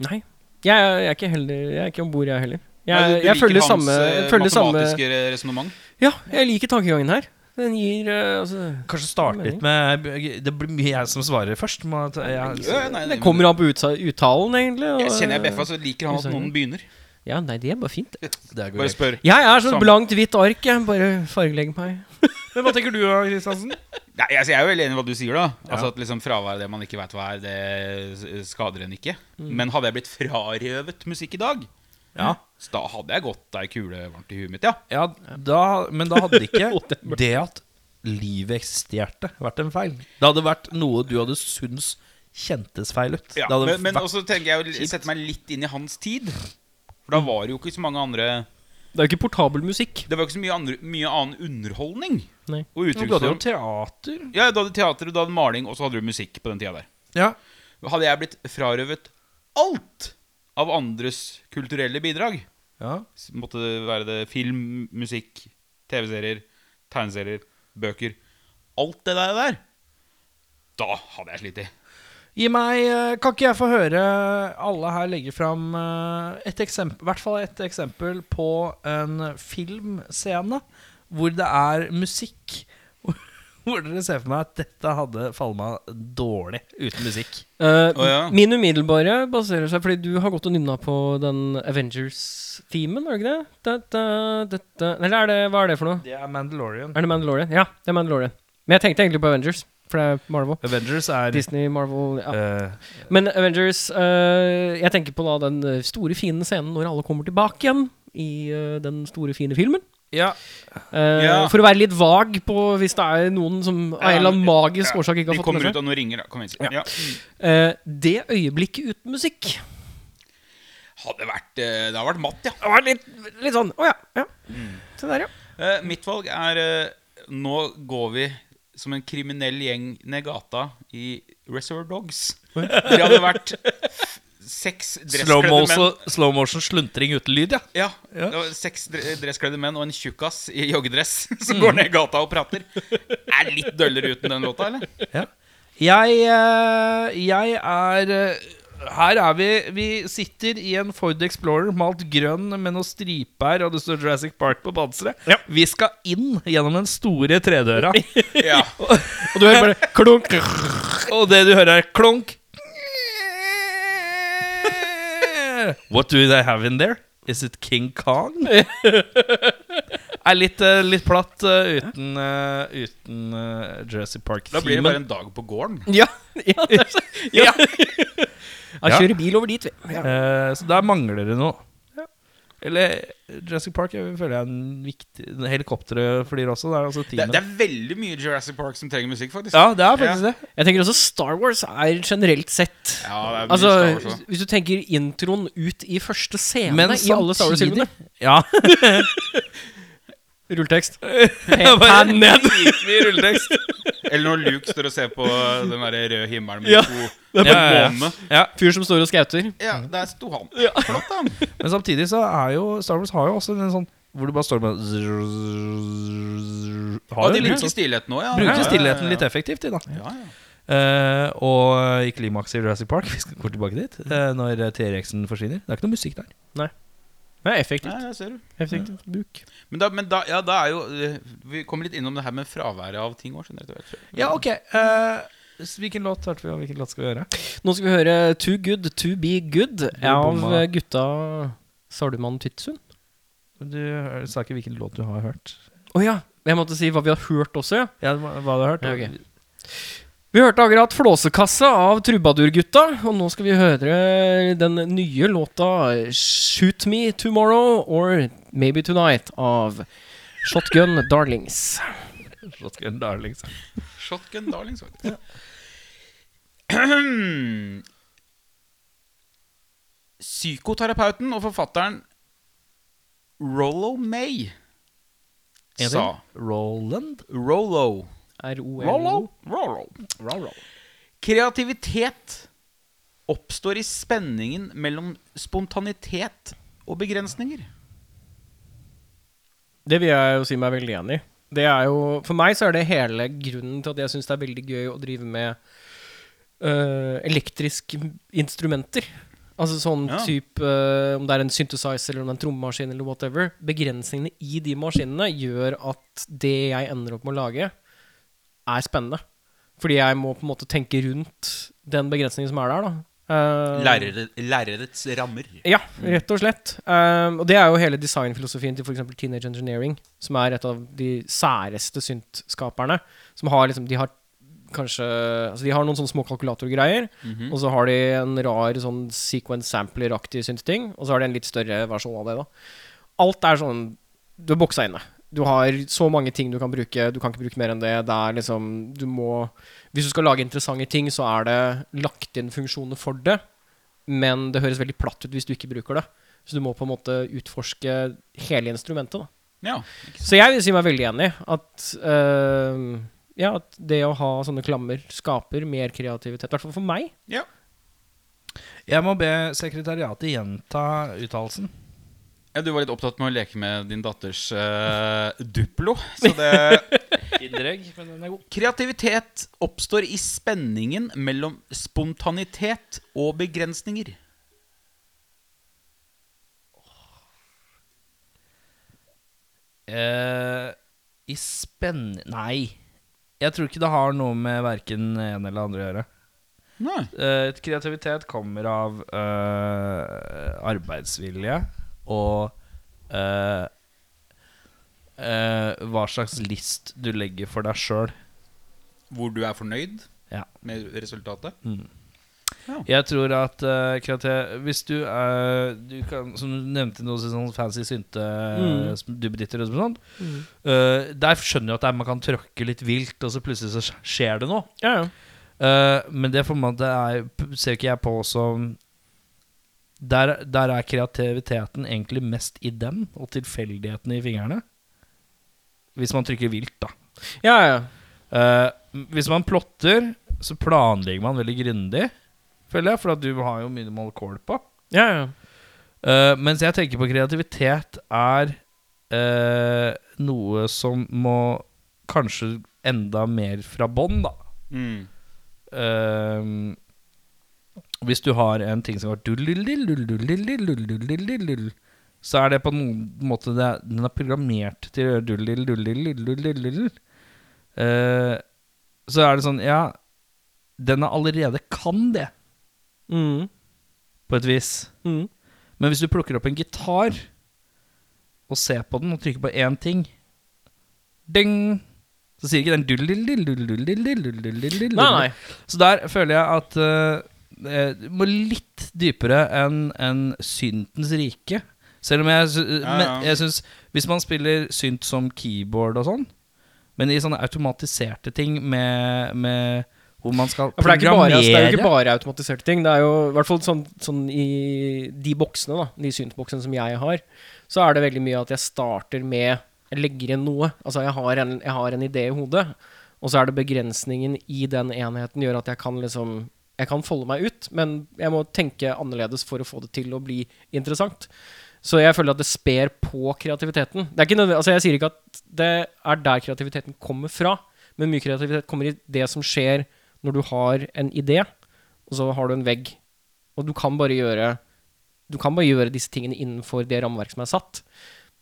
Speaker 1: Nei. Jeg, er- jeg er ikke heller Jeg er ikke om bord, jeg heller. Jeg,
Speaker 3: Nei, du- du
Speaker 1: jeg
Speaker 3: liker
Speaker 1: følger
Speaker 3: hans,
Speaker 1: samme,
Speaker 3: eh,
Speaker 1: jeg følger samme
Speaker 3: matematiske resonnement.
Speaker 1: Ja, jeg liker tankegangen her. Den gir eh, altså,
Speaker 2: Kanskje starte litt med Det blir mye jeg som svarer først. Må jeg ta- jeg,
Speaker 3: Ja, nei, nei,
Speaker 1: Det kommer an på utsa- uttalen, egentlig. og-
Speaker 3: Jeg kjenner jeg bjeffa, så liker han at
Speaker 1: Usikker.
Speaker 3: noen begynner.
Speaker 1: Ja, nei, det er bare fint. det.
Speaker 2: det er
Speaker 3: Bare
Speaker 2: korrekt.
Speaker 3: spør.
Speaker 1: Jeg er sånn
Speaker 3: Samme.
Speaker 1: blankt hvitt ark, jeg. Bare fargelegg meg.
Speaker 2: Men hva tenker du, Kristiansen?
Speaker 3: Nei, altså, jeg er jo veldig enig i hva du sier, da. Altså At liksom fraværet av det man ikke veit hva er, det s- skader en ikke. Men hadde jeg blitt frarøvet musikk i dag,
Speaker 2: Mm. Ja.
Speaker 3: så da hadde jeg gått ei kule varmt i huet mitt, ja.
Speaker 2: Ja, da, men da hadde ikke det at livet eksisterte, vært en feil. Det hadde vært noe du hadde syns kjentes feil ut.
Speaker 3: ja
Speaker 2: det hadde
Speaker 3: men men
Speaker 2: vært,
Speaker 3: også tenker jeg å sette meg litt inn i hans tid. For da var det jo ikke så mange andre
Speaker 1: Det er jo ikke portabel musikk.
Speaker 3: Det var ikke så mye, andre, mye annen underholdning.
Speaker 1: Nei.
Speaker 3: Og
Speaker 2: Nå ble det jo
Speaker 3: uttrykksform.
Speaker 2: teater.
Speaker 3: Ja, du hadde teater, og du hadde maling, og så hadde du musikk på den tida der.
Speaker 2: Ja.
Speaker 3: Hadde jeg blitt frarøvet alt av andres kulturelle bidrag,
Speaker 2: ja.
Speaker 3: s- måtte det være det film, musikk, TV-serier, tegneserier, bøker Alt det der, der da hadde jeg slitt i.
Speaker 2: Gi meg eh, Kan ikke jeg få høre alle her legge fram eh, et eksempel, i hvert fall et eksempel på en filmscene hvor det er musikk? Hvor dere ser for meg at dette hadde falt meg dårlig uten musikk.
Speaker 1: Eh,
Speaker 3: Å, ja.
Speaker 1: Min umiddelbare baserer seg fordi du har gått og nynna på den Avengers-themen, er det ikke det? Da, da, da, da. Eller er det, hva er det for noe?
Speaker 2: Det er Mandalorian.
Speaker 1: Er det Mandalorian? Ja, det er Mandalorian. Men jeg tenkte egentlig på Avengers, for det er Marvel.
Speaker 2: Avengers er
Speaker 1: Disney, Marvel ja.
Speaker 2: eh,
Speaker 1: Men Avengers eh, Jeg tenker på da den eh, store, fine scenen når alle kommer tilbake igjen i eh, den store, fine filmen.
Speaker 2: Ja,
Speaker 1: Eh,
Speaker 3: Ja.
Speaker 1: For å være litt vag på hvis det er noen som av en eller annen magisk årsak ikke
Speaker 3: De
Speaker 1: har fått
Speaker 3: kommer
Speaker 1: med
Speaker 3: ut
Speaker 1: seg.
Speaker 3: av noen ringer, da. Kom igjen. sier- Ja.
Speaker 1: Eh, det øyeblikket uten musikk
Speaker 3: Hadde vært, eh, det hadde vært matt, ja.
Speaker 1: Det var litt, litt sånn Å ja. ja.
Speaker 2: Mm.
Speaker 1: Se der, ja.
Speaker 3: Eh, Mitt valg er eh, Nå går vi som en kriminell gjeng ned gata i Reservoir Dogs. Det hadde vært f- seks
Speaker 2: slow
Speaker 3: dresskledde menn.
Speaker 2: motion, slow motion sluntring uten lyd, ja.
Speaker 3: Ja, det var Seks dre- dresskledde menn og en tjukkas i joggedress som går ned gata og prater. Er litt døllere uten den låta, eller?
Speaker 2: Jeg, eh, jeg er eh, Her er vi. Vi sitter i en Ford Explorer malt grønn med noen striper, og det står Jurassic Park på panseret. Vi skal inn gjennom den store tredøra,
Speaker 3: Ja.
Speaker 1: Og du hører bare klunk.
Speaker 2: og det du hører, er klunk. What do they have in there? Is it King Kong? er litt, eh, litt platt eh, uten, eh, uten eh, Jurassic Park-filmen.
Speaker 3: Da blir det bare en dag på gården.
Speaker 1: Ja. ja, det er så- ja. ja.
Speaker 2: Ja.
Speaker 1: Kjører bil over dit, vi. Ja.
Speaker 2: Eh, så der mangler det noe. Eller Jurassic Park jeg føler jeg er en viktig Helikopteret flyr også. Det er altså
Speaker 3: Det,
Speaker 2: teamet.
Speaker 3: det er veldig mye Jurassic Park som trenger musikk, faktisk.
Speaker 2: ja, det er faktisk det.
Speaker 1: Jeg tenker også Star Wars er generelt sett
Speaker 3: Ja, det er mye Star Wars
Speaker 1: Altså,
Speaker 3: også.
Speaker 1: hvis du tenker introen ut i første scene
Speaker 2: Men
Speaker 1: i alle Star Wars-filmene
Speaker 2: samtidig Ja.
Speaker 1: Rulletekst.
Speaker 2: Bare
Speaker 1: Pen ned.
Speaker 2: dritmye rulletekst.
Speaker 3: Eller når Luke står og ser på den der røde himmelen med
Speaker 1: Ja.
Speaker 3: to
Speaker 2: Ja, ja, ja.
Speaker 3: månene.
Speaker 2: ja.
Speaker 1: Fyr som står og skauter.
Speaker 3: Ja, der sto han. Flott, da.
Speaker 2: Men samtidig så er jo Star Wars har jo også en sånn hvor du bare står med har jo
Speaker 3: Og de
Speaker 2: litt
Speaker 3: bruker
Speaker 2: sånn-
Speaker 3: stillheten òg, ja. Ja,
Speaker 2: bruker
Speaker 3: ja,
Speaker 2: stillheten litt
Speaker 3: ja.
Speaker 2: effektivt, de, da.
Speaker 3: Ja, ja.
Speaker 2: Eh, og i klimakset i Jurassic Park, vi skal gå tilbake dit, eh, når T-rexen forsvinner. Det er ikke noe musikk der.
Speaker 1: Det er effektivt.
Speaker 3: Nei, der ser du.
Speaker 1: effektivt bruk.
Speaker 3: Men da, men da, ja, da er jo eh, Vi kommer litt innom det her med fraværet av ting òg.
Speaker 2: Ja, ok. eh, s- hvilken låt hørte vi, og hvilken låt skal vi gjøre?
Speaker 1: Nå skal vi høre Too Good To Be Good av
Speaker 2: bomma.
Speaker 1: eh, gutta Salumann Tytsund.
Speaker 2: Du eh, sa ikke hvilken låt du har hørt.
Speaker 1: Å ja. Jeg måtte si hva vi har hørt også, ja.
Speaker 2: Ja, hva hva du har hørt?
Speaker 1: Ja, ok. Vi hørte akkurat 'Flåsekassa' av Trubadurgutta, og nå skal vi høre den nye låta 'Shoot Me Tomorrow' or 'Maybe Tonight' av Shotgun Darlings.
Speaker 2: Shotgun darling, sa
Speaker 3: Shotgun darlings, faktisk. Psykoterapeuten og forfatteren Rollo May
Speaker 1: En til.
Speaker 3: sa
Speaker 2: Roland?
Speaker 3: Rollo.
Speaker 1: R-O-L-O.
Speaker 3: Rollo. Kreativitet oppstår i spenningen mellom spontanitet og begrensninger.
Speaker 1: Det vil jeg jo si meg veldig enig i. Det er jo, for meg så er det hele grunnen til at jeg syns det er veldig gøy å drive med øh, elektriske instrumenter. Altså sånn
Speaker 3: Ja.
Speaker 1: type øh, Om det er en synthesizer eller om det er en trommemaskin eller whatever. Begrensningene i de maskinene gjør at det jeg ender opp med å lage, er spennende. Fordi jeg må på en måte tenke rundt den begrensningen som er der, da. Eh,
Speaker 3: Lærere- Lærerets rammer.
Speaker 1: ja, rett og slett. Um, og det er jo hele designfilosofien til f.eks. Teenage Engineering, som er et av de særeste syntskaperne. Som har liksom De har kanskje Altså, de har noen sånne små kalkulatorgreier,
Speaker 3: Mhm.
Speaker 1: og så har de en rar sånn sequence sampler-aktig syntting, og så har de en litt større versjon av det, da. Alt er sånn Du er boksa inne. Du har så mange ting du kan bruke, du kan ikke bruke mer enn det. Det er liksom Du må Hvis du skal lage interessante ting, så er det lagt inn funksjoner for det men det høres veldig platt ut hvis du ikke bruker det. Så du må på en måte utforske hele instrumentet. Da.
Speaker 3: Ja.
Speaker 1: Så jeg vil si meg veldig enig at eh, ja, at det å ha sånne klammer skaper mer kreativitet. I hvert fall for meg.
Speaker 3: ja.
Speaker 2: Jeg må be sekretariatet gjenta uttalelsen.
Speaker 3: Ja, Du var litt opptatt med å leke med din datters eh, Duplo. Så det
Speaker 2: men den er god.
Speaker 3: Kreativitet oppstår i spenningen mellom spontanitet og begrensninger.
Speaker 2: Eh, I spenn... Nei. Jeg tror ikke det har noe med verken en eller andre å gjøre.
Speaker 3: Nei.
Speaker 2: Eh, kreativitet kommer av eh, arbeidsvilje og eh, eh, hva slags list du legger for deg sjøl.
Speaker 3: Hvor du er fornøyd
Speaker 2: Ja.
Speaker 3: med resultatet.
Speaker 2: Mm. Jeg tror at eh, kreati- Hvis du er du kan, Som du nevnte noe sånn fancy synte
Speaker 1: Mm.
Speaker 2: som du bedritter og sånt. Eh, der skjønner jeg at det er- man kan tråkke litt vilt, og så plutselig så sk- skjer det noe.
Speaker 1: Ja, ja.
Speaker 2: Eh, men det formatet er, p- ser ikke jeg på som der, der er kreativiteten egentlig mest i den, og tilfeldighetene i fingrene. Hvis man trykker vilt, da.
Speaker 1: ja, ja.
Speaker 2: Eh, hvis man plotter, så planlegger man veldig grundig, føler jeg, for at du har jo minimal kål på.
Speaker 1: ja, ja.
Speaker 2: Eh, mens jeg tenker på kreativitet er eh, noe som må kanskje enda mer fra bånn, da.
Speaker 3: Mm.
Speaker 2: Ehm, Hvis du har en ting som går dull-dull-dull-dull-dull-dull-dull-dull-dull-dull, Så er det på noen måte det er, Den er programmert til å gjøre dull-dull-dull-dull-dull-dull-dull. Eh, Så er det sånn Ja, den er allerede kan det,
Speaker 1: Mm,
Speaker 2: på et vis.
Speaker 1: mm.
Speaker 2: Men hvis du plukker opp en gitar og ser på den og trykker på én ting Ding! Så sier ikke den dull-dull-dull-dull-dull-dull-dull-dull-dull.
Speaker 1: Nei, nei.
Speaker 2: Så der føler jeg at eh, eh, du må litt dypere enn enn syntens rike. Selv om jeg, sy- eh,
Speaker 3: Ja, ja.
Speaker 2: men jeg syns Hvis man spiller synt som keyboard og sånn, men i sånne automatiserte ting med, med hvor man skal
Speaker 1: Ja, For det er, ikke bare, altså, det er jo ikke
Speaker 2: programmere
Speaker 1: bare automatiserte ting. Det er jo i hvert fall sånn, sånn i de boksene, da, de syntboksene som jeg har, så er det veldig mye at jeg starter med Jeg legger inn noe. Altså, jeg har en, jeg har en idé i hodet, og så er det begrensningen i den enheten gjør at jeg kan liksom Jeg kan folde meg ut, men jeg må tenke annerledes for å få det til å bli interessant. Så jeg føler at det sper på kreativiteten. Det er ikke nødvendig, altså jeg sier ikke at det er der kreativiteten kommer fra, men mye kreativitet kommer i det som skjer når du har en idé, og så har du en vegg. Og du kan bare gjøre Du kan bare gjøre disse tingene innenfor det rammeverket som er satt.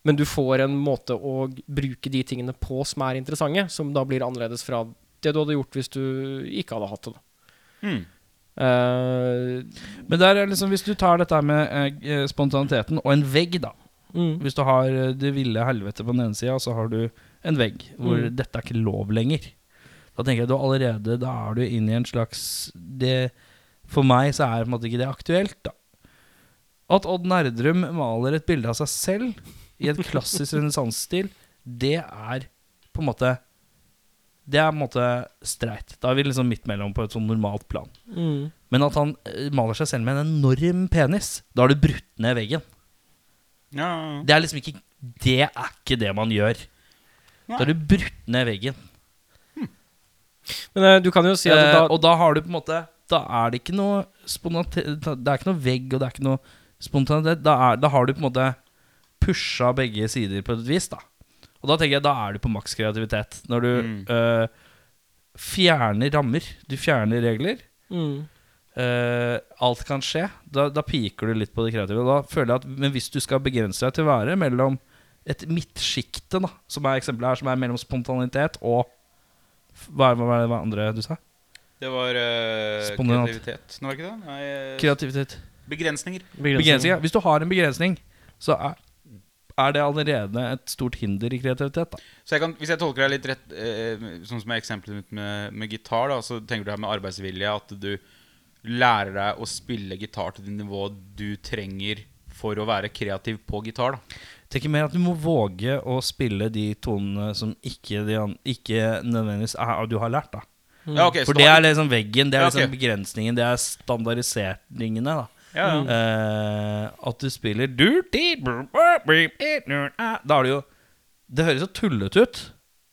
Speaker 1: Men du får en måte å bruke de tingene på som er interessante, som da blir annerledes fra det du hadde gjort hvis du ikke hadde hatt det. da.
Speaker 3: Mm.
Speaker 1: Eh,
Speaker 2: Men der er liksom, hvis du tar dette her med eh, spontaniteten og en vegg, da.
Speaker 1: mm,
Speaker 2: Hvis du har eh, det ville helvete på den ene sida, og så har du en vegg hvor
Speaker 1: Mm.
Speaker 2: dette er ikke lov lenger. Da tenker jeg du allerede Da er du inne i en slags det, For meg så er på en måte ikke det aktuelt, da. At Odd Nerdrum maler et bilde av seg selv i et klassisk renessansestil, det er på en måte det er på en måte streit. Da er vi liksom midt mellom på et sånn normalt plan.
Speaker 1: Mm.
Speaker 2: Men at han eh, maler seg selv med en enorm penis, da har du brutt ned veggen.
Speaker 3: Ja,
Speaker 2: Det er liksom ikke Det er ikke det man gjør. Da har du brutt ned veggen.
Speaker 1: Men eh, du kan jo si at
Speaker 2: Eh,
Speaker 1: da
Speaker 2: og da har du på en måte Da er det ikke noe spontanite... Det er ikke noe vegg, og det er ikke noe spontanitet. Da, er, da har du på en måte pusha begge sider på et vis, da. Og da tenker jeg da er du på maks kreativitet. Når du
Speaker 3: Mm.
Speaker 2: eh, fjerner rammer. Du fjerner regler.
Speaker 1: mm.
Speaker 2: eh, alt kan skje. Da, da piker du litt på det kreative. Og da føler jeg at, men hvis du skal begrense deg til å være mellom et midtsjikte, da, som er eksempelet her, som er mellom spontanitet og Hva var det andre du sa?
Speaker 3: Det var eh,
Speaker 2: Spontant.
Speaker 3: kreativitet. Nå var det ikke det? Nei, eh,
Speaker 2: Kreativitet.
Speaker 3: begrensninger.
Speaker 2: Begrensninger. Hvis du har en begrensning, så er, er det allerede et stort hinder i kreativitet. Da.
Speaker 3: Så jeg kan, hvis jeg tolker deg litt rett, eh, sånn som er eksempelet mitt med, med gitar, da, så tenker du her med arbeidsvilje at du lærer deg å spille gitar til det nivået du trenger for å være kreativ på gitar. da.
Speaker 2: Tenk mer at du må våge å spille de tonene som ikke, de an, ikke nødvendigvis er, du har lært. Da.
Speaker 3: Ja, ok, så
Speaker 2: For
Speaker 3: det
Speaker 2: det
Speaker 3: var-
Speaker 2: er liksom veggen, det er
Speaker 3: Ja,
Speaker 2: liksom
Speaker 3: ok.
Speaker 2: begrensningen, det er standardiseringene. Da.
Speaker 3: ja, ja.
Speaker 2: Eh, at du spiller Dirty Da er det jo Det høres jo tullete ut,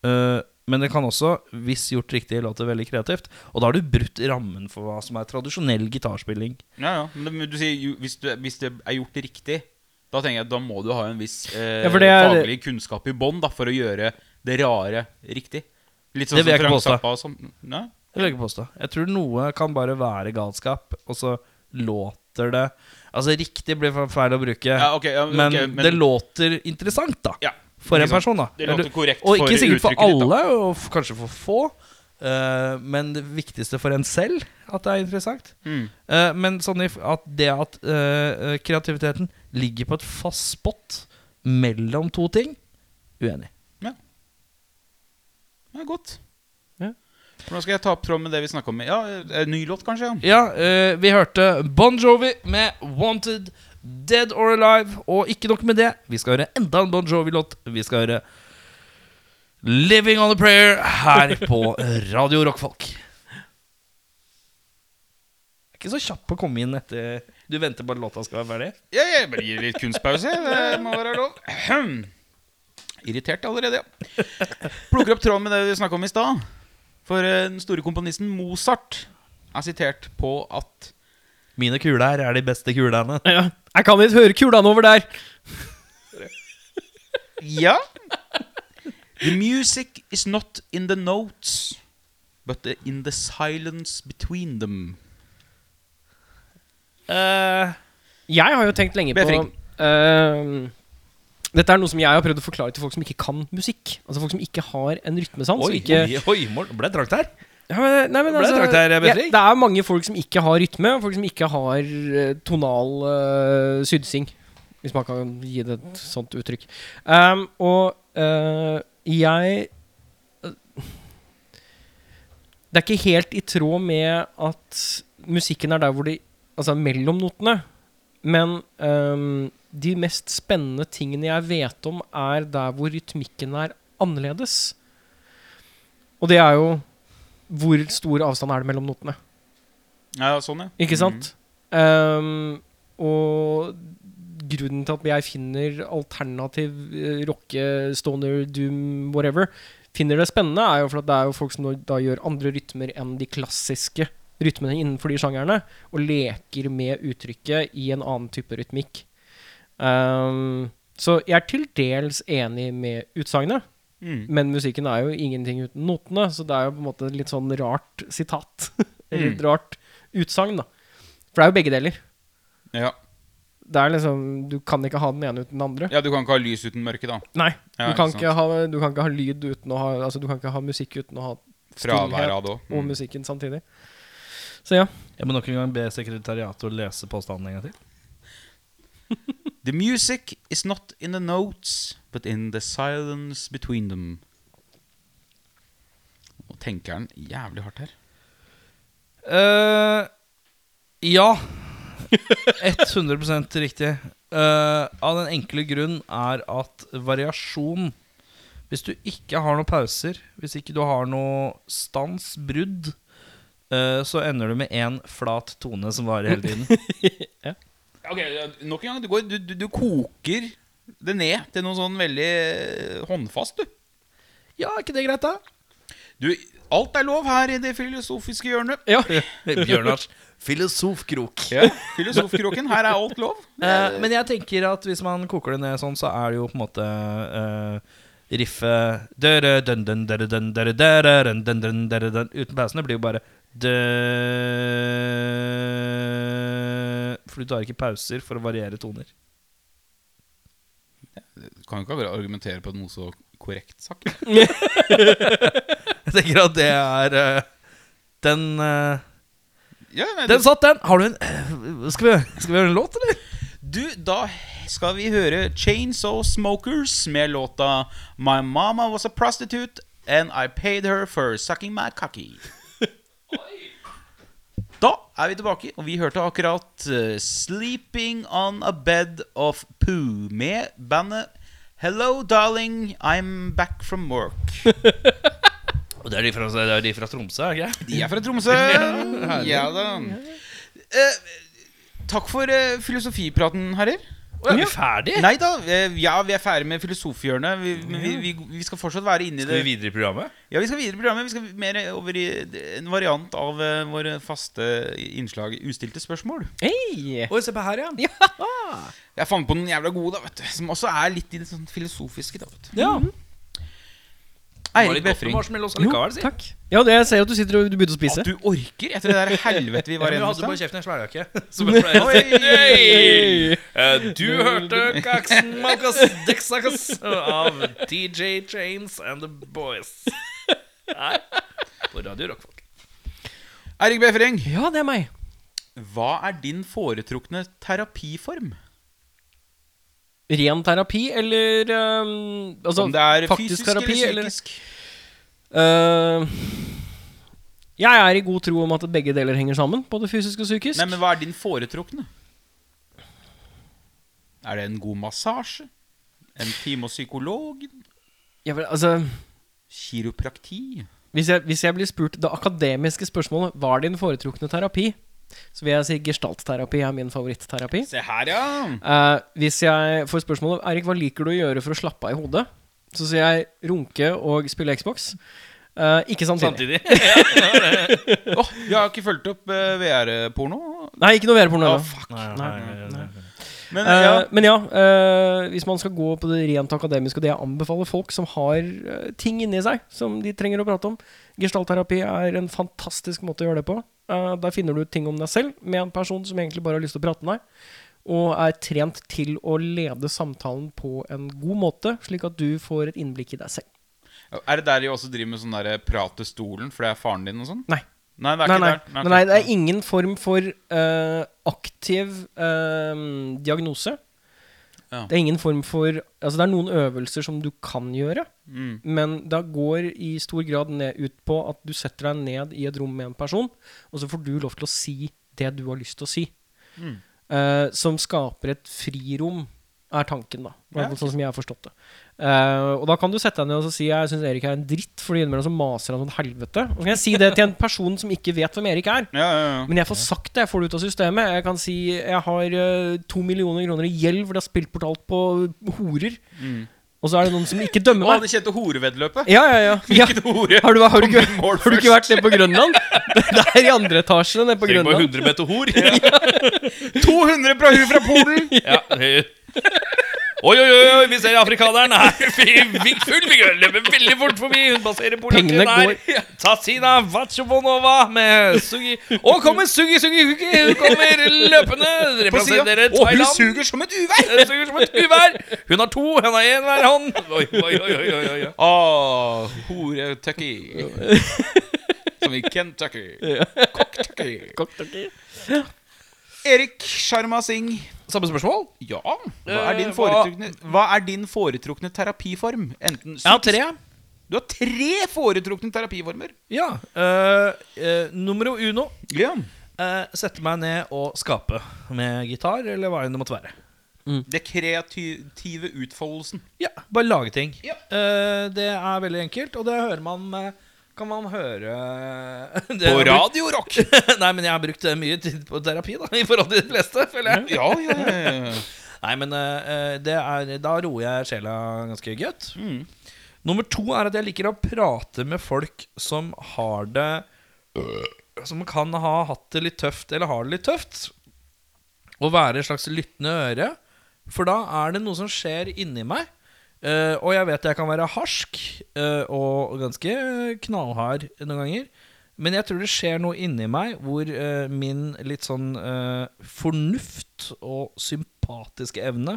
Speaker 2: eh, men det kan også, hvis gjort riktig, låte veldig kreativt. Og da har du brutt rammen for hva som er tradisjonell gitarspilling.
Speaker 3: Ja, ja. Men det- Men du sier jo, hvis, du, hvis det er gjort riktig, da tenker jeg at da må du ha en viss eh,
Speaker 1: Ja, for det er-
Speaker 3: faglig kunnskap i bånn da, for å gjøre det rare riktig. Litt sånn
Speaker 2: Det vil jeg
Speaker 3: som
Speaker 2: ikke påstå.
Speaker 3: Frank Zappa og sånn. Nei?
Speaker 2: Det vil jeg ikke påstå. Jeg tror noe kan bare være galskap, og så låter det Altså, riktig blir feil å bruke,
Speaker 3: Ja, ok, ja,
Speaker 2: men,
Speaker 3: ok, men-
Speaker 2: det låter interessant, da.
Speaker 3: Ja,
Speaker 2: For en
Speaker 3: ikke sant.
Speaker 2: person, da.
Speaker 3: Det låter
Speaker 2: Eller-
Speaker 3: korrekt
Speaker 2: og
Speaker 3: for
Speaker 2: ikke sikkert for
Speaker 3: uttrykket ditt, da.
Speaker 2: alle, og f- kanskje for få. eh, men det viktigste for en selv, at det er interessant.
Speaker 3: Mm.
Speaker 2: Eh, men sånn i f- at det at eh, eh, kreativiteten ligger på et fast spot mellom to ting Uenig.
Speaker 3: Ja, godt.
Speaker 1: Ja.
Speaker 3: Hvordan skal jeg ta opp tråden med det vi snakka om? Ja, en ny låt, kanskje? Ja.
Speaker 2: Ja, eh, vi hørte Bon Jovi med 'Wanted Dead or Alive'. Og ikke nok med det, vi skal høre enda en Bon Jovi-låt. Vi skal høre 'Living On A Prayer' her på Radio Rockfolk. Jeg er Ikke så kjapp på å komme inn etter Du venter på at låta skal være ferdig?
Speaker 3: Ja, jeg bare gir litt kunstpause. Det må være lov. Ahem. Irritert allerede, ja. Plukker opp tråden med det vi snakka om i stad. For eh, den store komponisten Mozart er sitert på at
Speaker 2: Mine kuler er de beste kulene.
Speaker 1: ja. Jeg kan ikke høre kulene over der!
Speaker 3: Ja. The music is not in the notes, but in the silence between them.
Speaker 2: Eh,
Speaker 1: Jeg har jo tenkt lenge på
Speaker 3: Befring.
Speaker 1: eh, Dette er noe som jeg har prøvd å forklare til folk som ikke kan musikk. Altså folk som ikke har en rytmesans. og
Speaker 2: oi,
Speaker 1: ikke,
Speaker 2: oi, oi, Morten, ble det trangt her?
Speaker 1: Ja, men, nei, men
Speaker 2: Ble det
Speaker 1: altså,
Speaker 2: trakt her, Befring?
Speaker 1: ja, det er mange folk som ikke har rytme, og folk som ikke har eh, tonal eh, sydsing. Hvis man kan gi det et sånt uttrykk. Ehm, og eh, jeg eh, Det er ikke helt i tråd med at musikken er der hvor de Altså mellom notene. Men ehm, de mest spennende tingene jeg vet om, er der hvor rytmikken er annerledes. Og det er jo hvor stor avstand er det mellom notene.
Speaker 3: Ja, sånn, ja.
Speaker 1: Ikke sant? Ehm, og grunnen til at jeg finner alternativ eh, rocke, stoner, doom, whatever, finner det spennende, er jo for at det er jo folk som da, da gjør andre rytmer enn de klassiske rytmene innenfor de sjangerne, og leker med uttrykket i en annen type rytmikk. Ehm, så jeg er til dels enig med utsagnet.
Speaker 3: Mm.
Speaker 1: Men musikken er jo ingenting uten notene, så det er jo på en måte litt sånn rart sitat.
Speaker 3: Mm.
Speaker 1: Eller et rart utsagn, da. For det er jo begge deler.
Speaker 3: Ja.
Speaker 1: Det er liksom, Du kan ikke ha den ene uten den andre.
Speaker 3: ja, du kan ikke ha lys uten mørke, da.
Speaker 1: Nei.
Speaker 3: Ja,
Speaker 1: du, kan
Speaker 3: ikke
Speaker 1: ikke ha, du kan ikke ha lyd uten å ha Altså, du kan ikke ha musikk uten å ha
Speaker 3: Fravær av Mm. det òg.
Speaker 1: og musikken samtidig. Så ja.
Speaker 2: Jeg må nok en gang be sekretariatet å lese påstanden en gang til.
Speaker 3: The music is not in the notes, but in the silence between them. Nå tenker han jævlig hardt her.
Speaker 2: Eh, ja. 100 riktig. Eh, av den enkle grunn er at variasjon Hvis du ikke har noen pauser, hvis ikke du har noe stansbrudd, eh, så ender du med én flat tone som varer hele tiden.
Speaker 3: Ok, Nok en gang. Du, går, du, du, du koker det ned til noe sånn veldig eh, håndfast, du.
Speaker 2: Ja, er ikke det greit, da?
Speaker 3: du. Alt er lov her i det filosofiske hjørnet.
Speaker 1: Ja.
Speaker 2: Bjørnars filosofkrok.
Speaker 3: Ja, Filosofkroken. Her er alt lov.
Speaker 2: Eh, men jeg tenker at hvis man koker det ned sånn, så er det jo på en måte eh, riffet dere, dun, dun, dere, dun, dere, dere, dun, dun, dun, dere, dun. Uten pausene blir jo bare dø- For du tar ikke pauser for å variere toner.
Speaker 3: Du kan jo ikke argumentere på noe så korrekt sak.
Speaker 2: Jeg tenker at det er eh, Den eh,
Speaker 3: Ja, nei,
Speaker 2: Den satt, den! Har du en eh, Skal vi, skal vi høre en låt, eller?
Speaker 3: Du, da skal vi høre Chainsaw Smokers med låta My mama was a prostitute And I paid her for sucking my cocky Da er vi tilbake Og vi hørte akkurat eh, Sleeping on a bed of poo Med bandet Hello darling, I'm back from work
Speaker 2: Og det er de fra, det er de fra Tromsø, er det ikke det?
Speaker 3: De er fra Tromsø Ja da Eh, Takk for eh, filosofipraten, herrer
Speaker 2: Å, Er vi ferdig?
Speaker 3: Nei da, eh, ja, vi er ferdig med filosofhjørnet. Vi, men vi, vi, vi skal fortsatt være inne i det.
Speaker 2: videre i programmet?
Speaker 3: Ja, vi skal videre i programmet. Vi skal mer over i en variant av eh, våre faste innslag Ustilte spørsmål.
Speaker 1: Hei!
Speaker 2: Oi, se på her, ja.
Speaker 3: Jeg fant på den jævla gode, da, vet du. Som også er litt i det sånn filosofiske, da, vet du.
Speaker 2: ja.
Speaker 1: Mm.
Speaker 3: Eirik Befring.
Speaker 2: Likevel, si.
Speaker 1: Takk. Ja, det, jeg ser jo at du sitter og du begynte å spise.
Speaker 3: At du orker etter det der helvete vi var
Speaker 2: Ja, men
Speaker 3: igjennom
Speaker 2: du hadde
Speaker 3: i
Speaker 2: på kjeften en sveljakke.
Speaker 3: stad.
Speaker 2: Eh, Du hørte Kaksen Malkas Dexakas av DJ Chains and The Boys. Her på Radio Rock, folk.
Speaker 3: Eirik Befring,
Speaker 1: Ja, det er meg.
Speaker 3: hva er din foretrukne terapiform?
Speaker 1: Ren terapi eller øhm, altså,
Speaker 3: Om det er
Speaker 1: faktisk
Speaker 3: fysisk
Speaker 1: terapi,
Speaker 3: eller psykisk?
Speaker 1: eller øh, Jeg er i god tro om at begge deler henger sammen, både fysisk og psykisk.
Speaker 3: Nei, men hva er din foretrukne? Er det en god massasje? En time hos psykolog?
Speaker 1: Jeg vil- altså,
Speaker 3: Kiroprakti?
Speaker 1: hvis, jeg, hvis jeg blir spurt det akademiske spørsmålet Hva er din foretrukne terapi, så vil jeg si gestaltterapi er min favoritterapi.
Speaker 3: Se her, ja!
Speaker 1: Eh, hvis jeg får spørsmålet Erik, hva liker du å gjøre for å slappe av i hodet? Så sier jeg runke og spille Xbox. Eh, ikke samtidig.
Speaker 2: Samtidig.
Speaker 3: Åh, jeg har ikke fulgt opp eh, VR-porno.
Speaker 1: Nei, ikke noe VR-porno.
Speaker 3: Å,
Speaker 1: ennå.
Speaker 3: fuck.
Speaker 2: Nei, nei, nei.
Speaker 1: Eh,
Speaker 3: Men ja,
Speaker 1: Men ja, eh, hvis man skal gå på det rent akademiske, og det jeg anbefaler folk som har eh, ting inni seg som de trenger å prate om Gestaltterapi er en fantastisk måte å gjøre det på. Eh, der finner du ut ting om deg selv med en person som egentlig bare har lyst til å prate med deg, og er trent til å lede samtalen på en god måte, slik at du får et innblikk i deg selv.
Speaker 3: er det der de også driver med sånn der prat til stolen, for det er faren din og sånn?
Speaker 1: Nei.
Speaker 3: Nei, det er
Speaker 1: Nei,
Speaker 3: ikke
Speaker 1: nei.
Speaker 3: der.
Speaker 1: Nei,
Speaker 3: ok.
Speaker 1: nei, det er ingen form for eh, aktiv eh, diagnose.
Speaker 3: Ja.
Speaker 1: Det er ingen form for Altså, det er noen øvelser som du kan gjøre,
Speaker 3: Mm.
Speaker 1: men da går i stor grad ned ut på at du setter deg ned i et rom med en person, og så får du lov til å si det du har lyst til å si.
Speaker 3: Mm.
Speaker 1: Eh, som skaper et frirom, er tanken, da. I hvert
Speaker 3: Ja,
Speaker 1: fall Sånn som jeg har forstått det. Eh, og da kan du sette deg ned og så si jeg syns Erik er en dritt, fordi innimellom så maser han som et helvete. Og så kan jeg si det til en person som ikke vet hvem Erik er.
Speaker 3: Ja, ja, ja.
Speaker 1: Men jeg får sagt det, jeg får det ut av systemet. Jeg kan si jeg har eh, to millioner kroner i gjeld fordi jeg har spilt bort alt på horer.
Speaker 3: Mm.
Speaker 1: Og så er det noen som ikke
Speaker 3: Å,
Speaker 1: dømmer meg.
Speaker 3: det kjente horeveddeløpet.
Speaker 1: Ja, ja, ja. ja.
Speaker 3: Hvilket hore?
Speaker 1: Har, du, har, du ikke,
Speaker 3: Kom i mål
Speaker 1: har du ikke vært nede på Grønland? Det er i andre etasje nede på
Speaker 2: Tenk på
Speaker 1: Grønland.
Speaker 2: 100 meter hor.
Speaker 3: 200 fra hun fra Polen!
Speaker 2: Ja. Oi, oi, oi, oi, vi ser afrikaneren her. Vi full vigør, løper veldig fort forbi. Hun passerer
Speaker 1: Pengene
Speaker 2: Polen her. Tatsina Vatsjovonova med Sugi. Og kommer Sugi Sugi Huki. Hun kommer løpende.
Speaker 3: På siden.
Speaker 2: Representerer
Speaker 3: Og hun
Speaker 2: Thailand.
Speaker 3: suger som et uvær!
Speaker 2: Hun suger som et uvær. Hun har to, hun har én hver hånd. Oi, oi, oi, oi, oi, oi.
Speaker 3: Åh, hore-tucky. Som i Kentucky. Cock-tucky. Erik Sharma Singh.
Speaker 2: Samme spørsmål?
Speaker 3: Ja, hva er
Speaker 2: Eh,
Speaker 3: din
Speaker 2: hva-
Speaker 3: foretrukne, hva er din foretrukne terapiform? Enten psykisk- Du har tre foretrukne terapiformer.
Speaker 2: Ja. Uh, numero uno.
Speaker 3: Ja.
Speaker 2: Eh, sette meg ned og skape med gitar, eller hva enn det måtte være.
Speaker 3: Det kreative utfoldelsen.
Speaker 2: Ja, bare lage ting.
Speaker 3: Ja.
Speaker 2: Eh, det er veldig enkelt, og det hører man eh, Kan man høre eh, det
Speaker 3: På
Speaker 2: jeg har brukt-
Speaker 3: Radio Rock!
Speaker 2: Nei, men jeg har brukt eh, mye tid på terapi, da, i forhold til de fleste, føler jeg.
Speaker 3: Ja, ja, ja, ja.
Speaker 2: Nei, men eh, eh, det er, da roer jeg sjela ganske godt.
Speaker 3: Mm.
Speaker 2: Nummer to er at jeg liker å prate med folk som har det øh, Som kan ha hatt det litt tøft, eller har det litt tøft. Å være et slags lyttende øre. For da er det noe som skjer inni meg. Eh, og jeg vet jeg kan være harsk eh, og ganske knallhard noen ganger. Men jeg tror det skjer noe inni meg hvor eh, min litt sånn eh, fornuft og sympatiske evne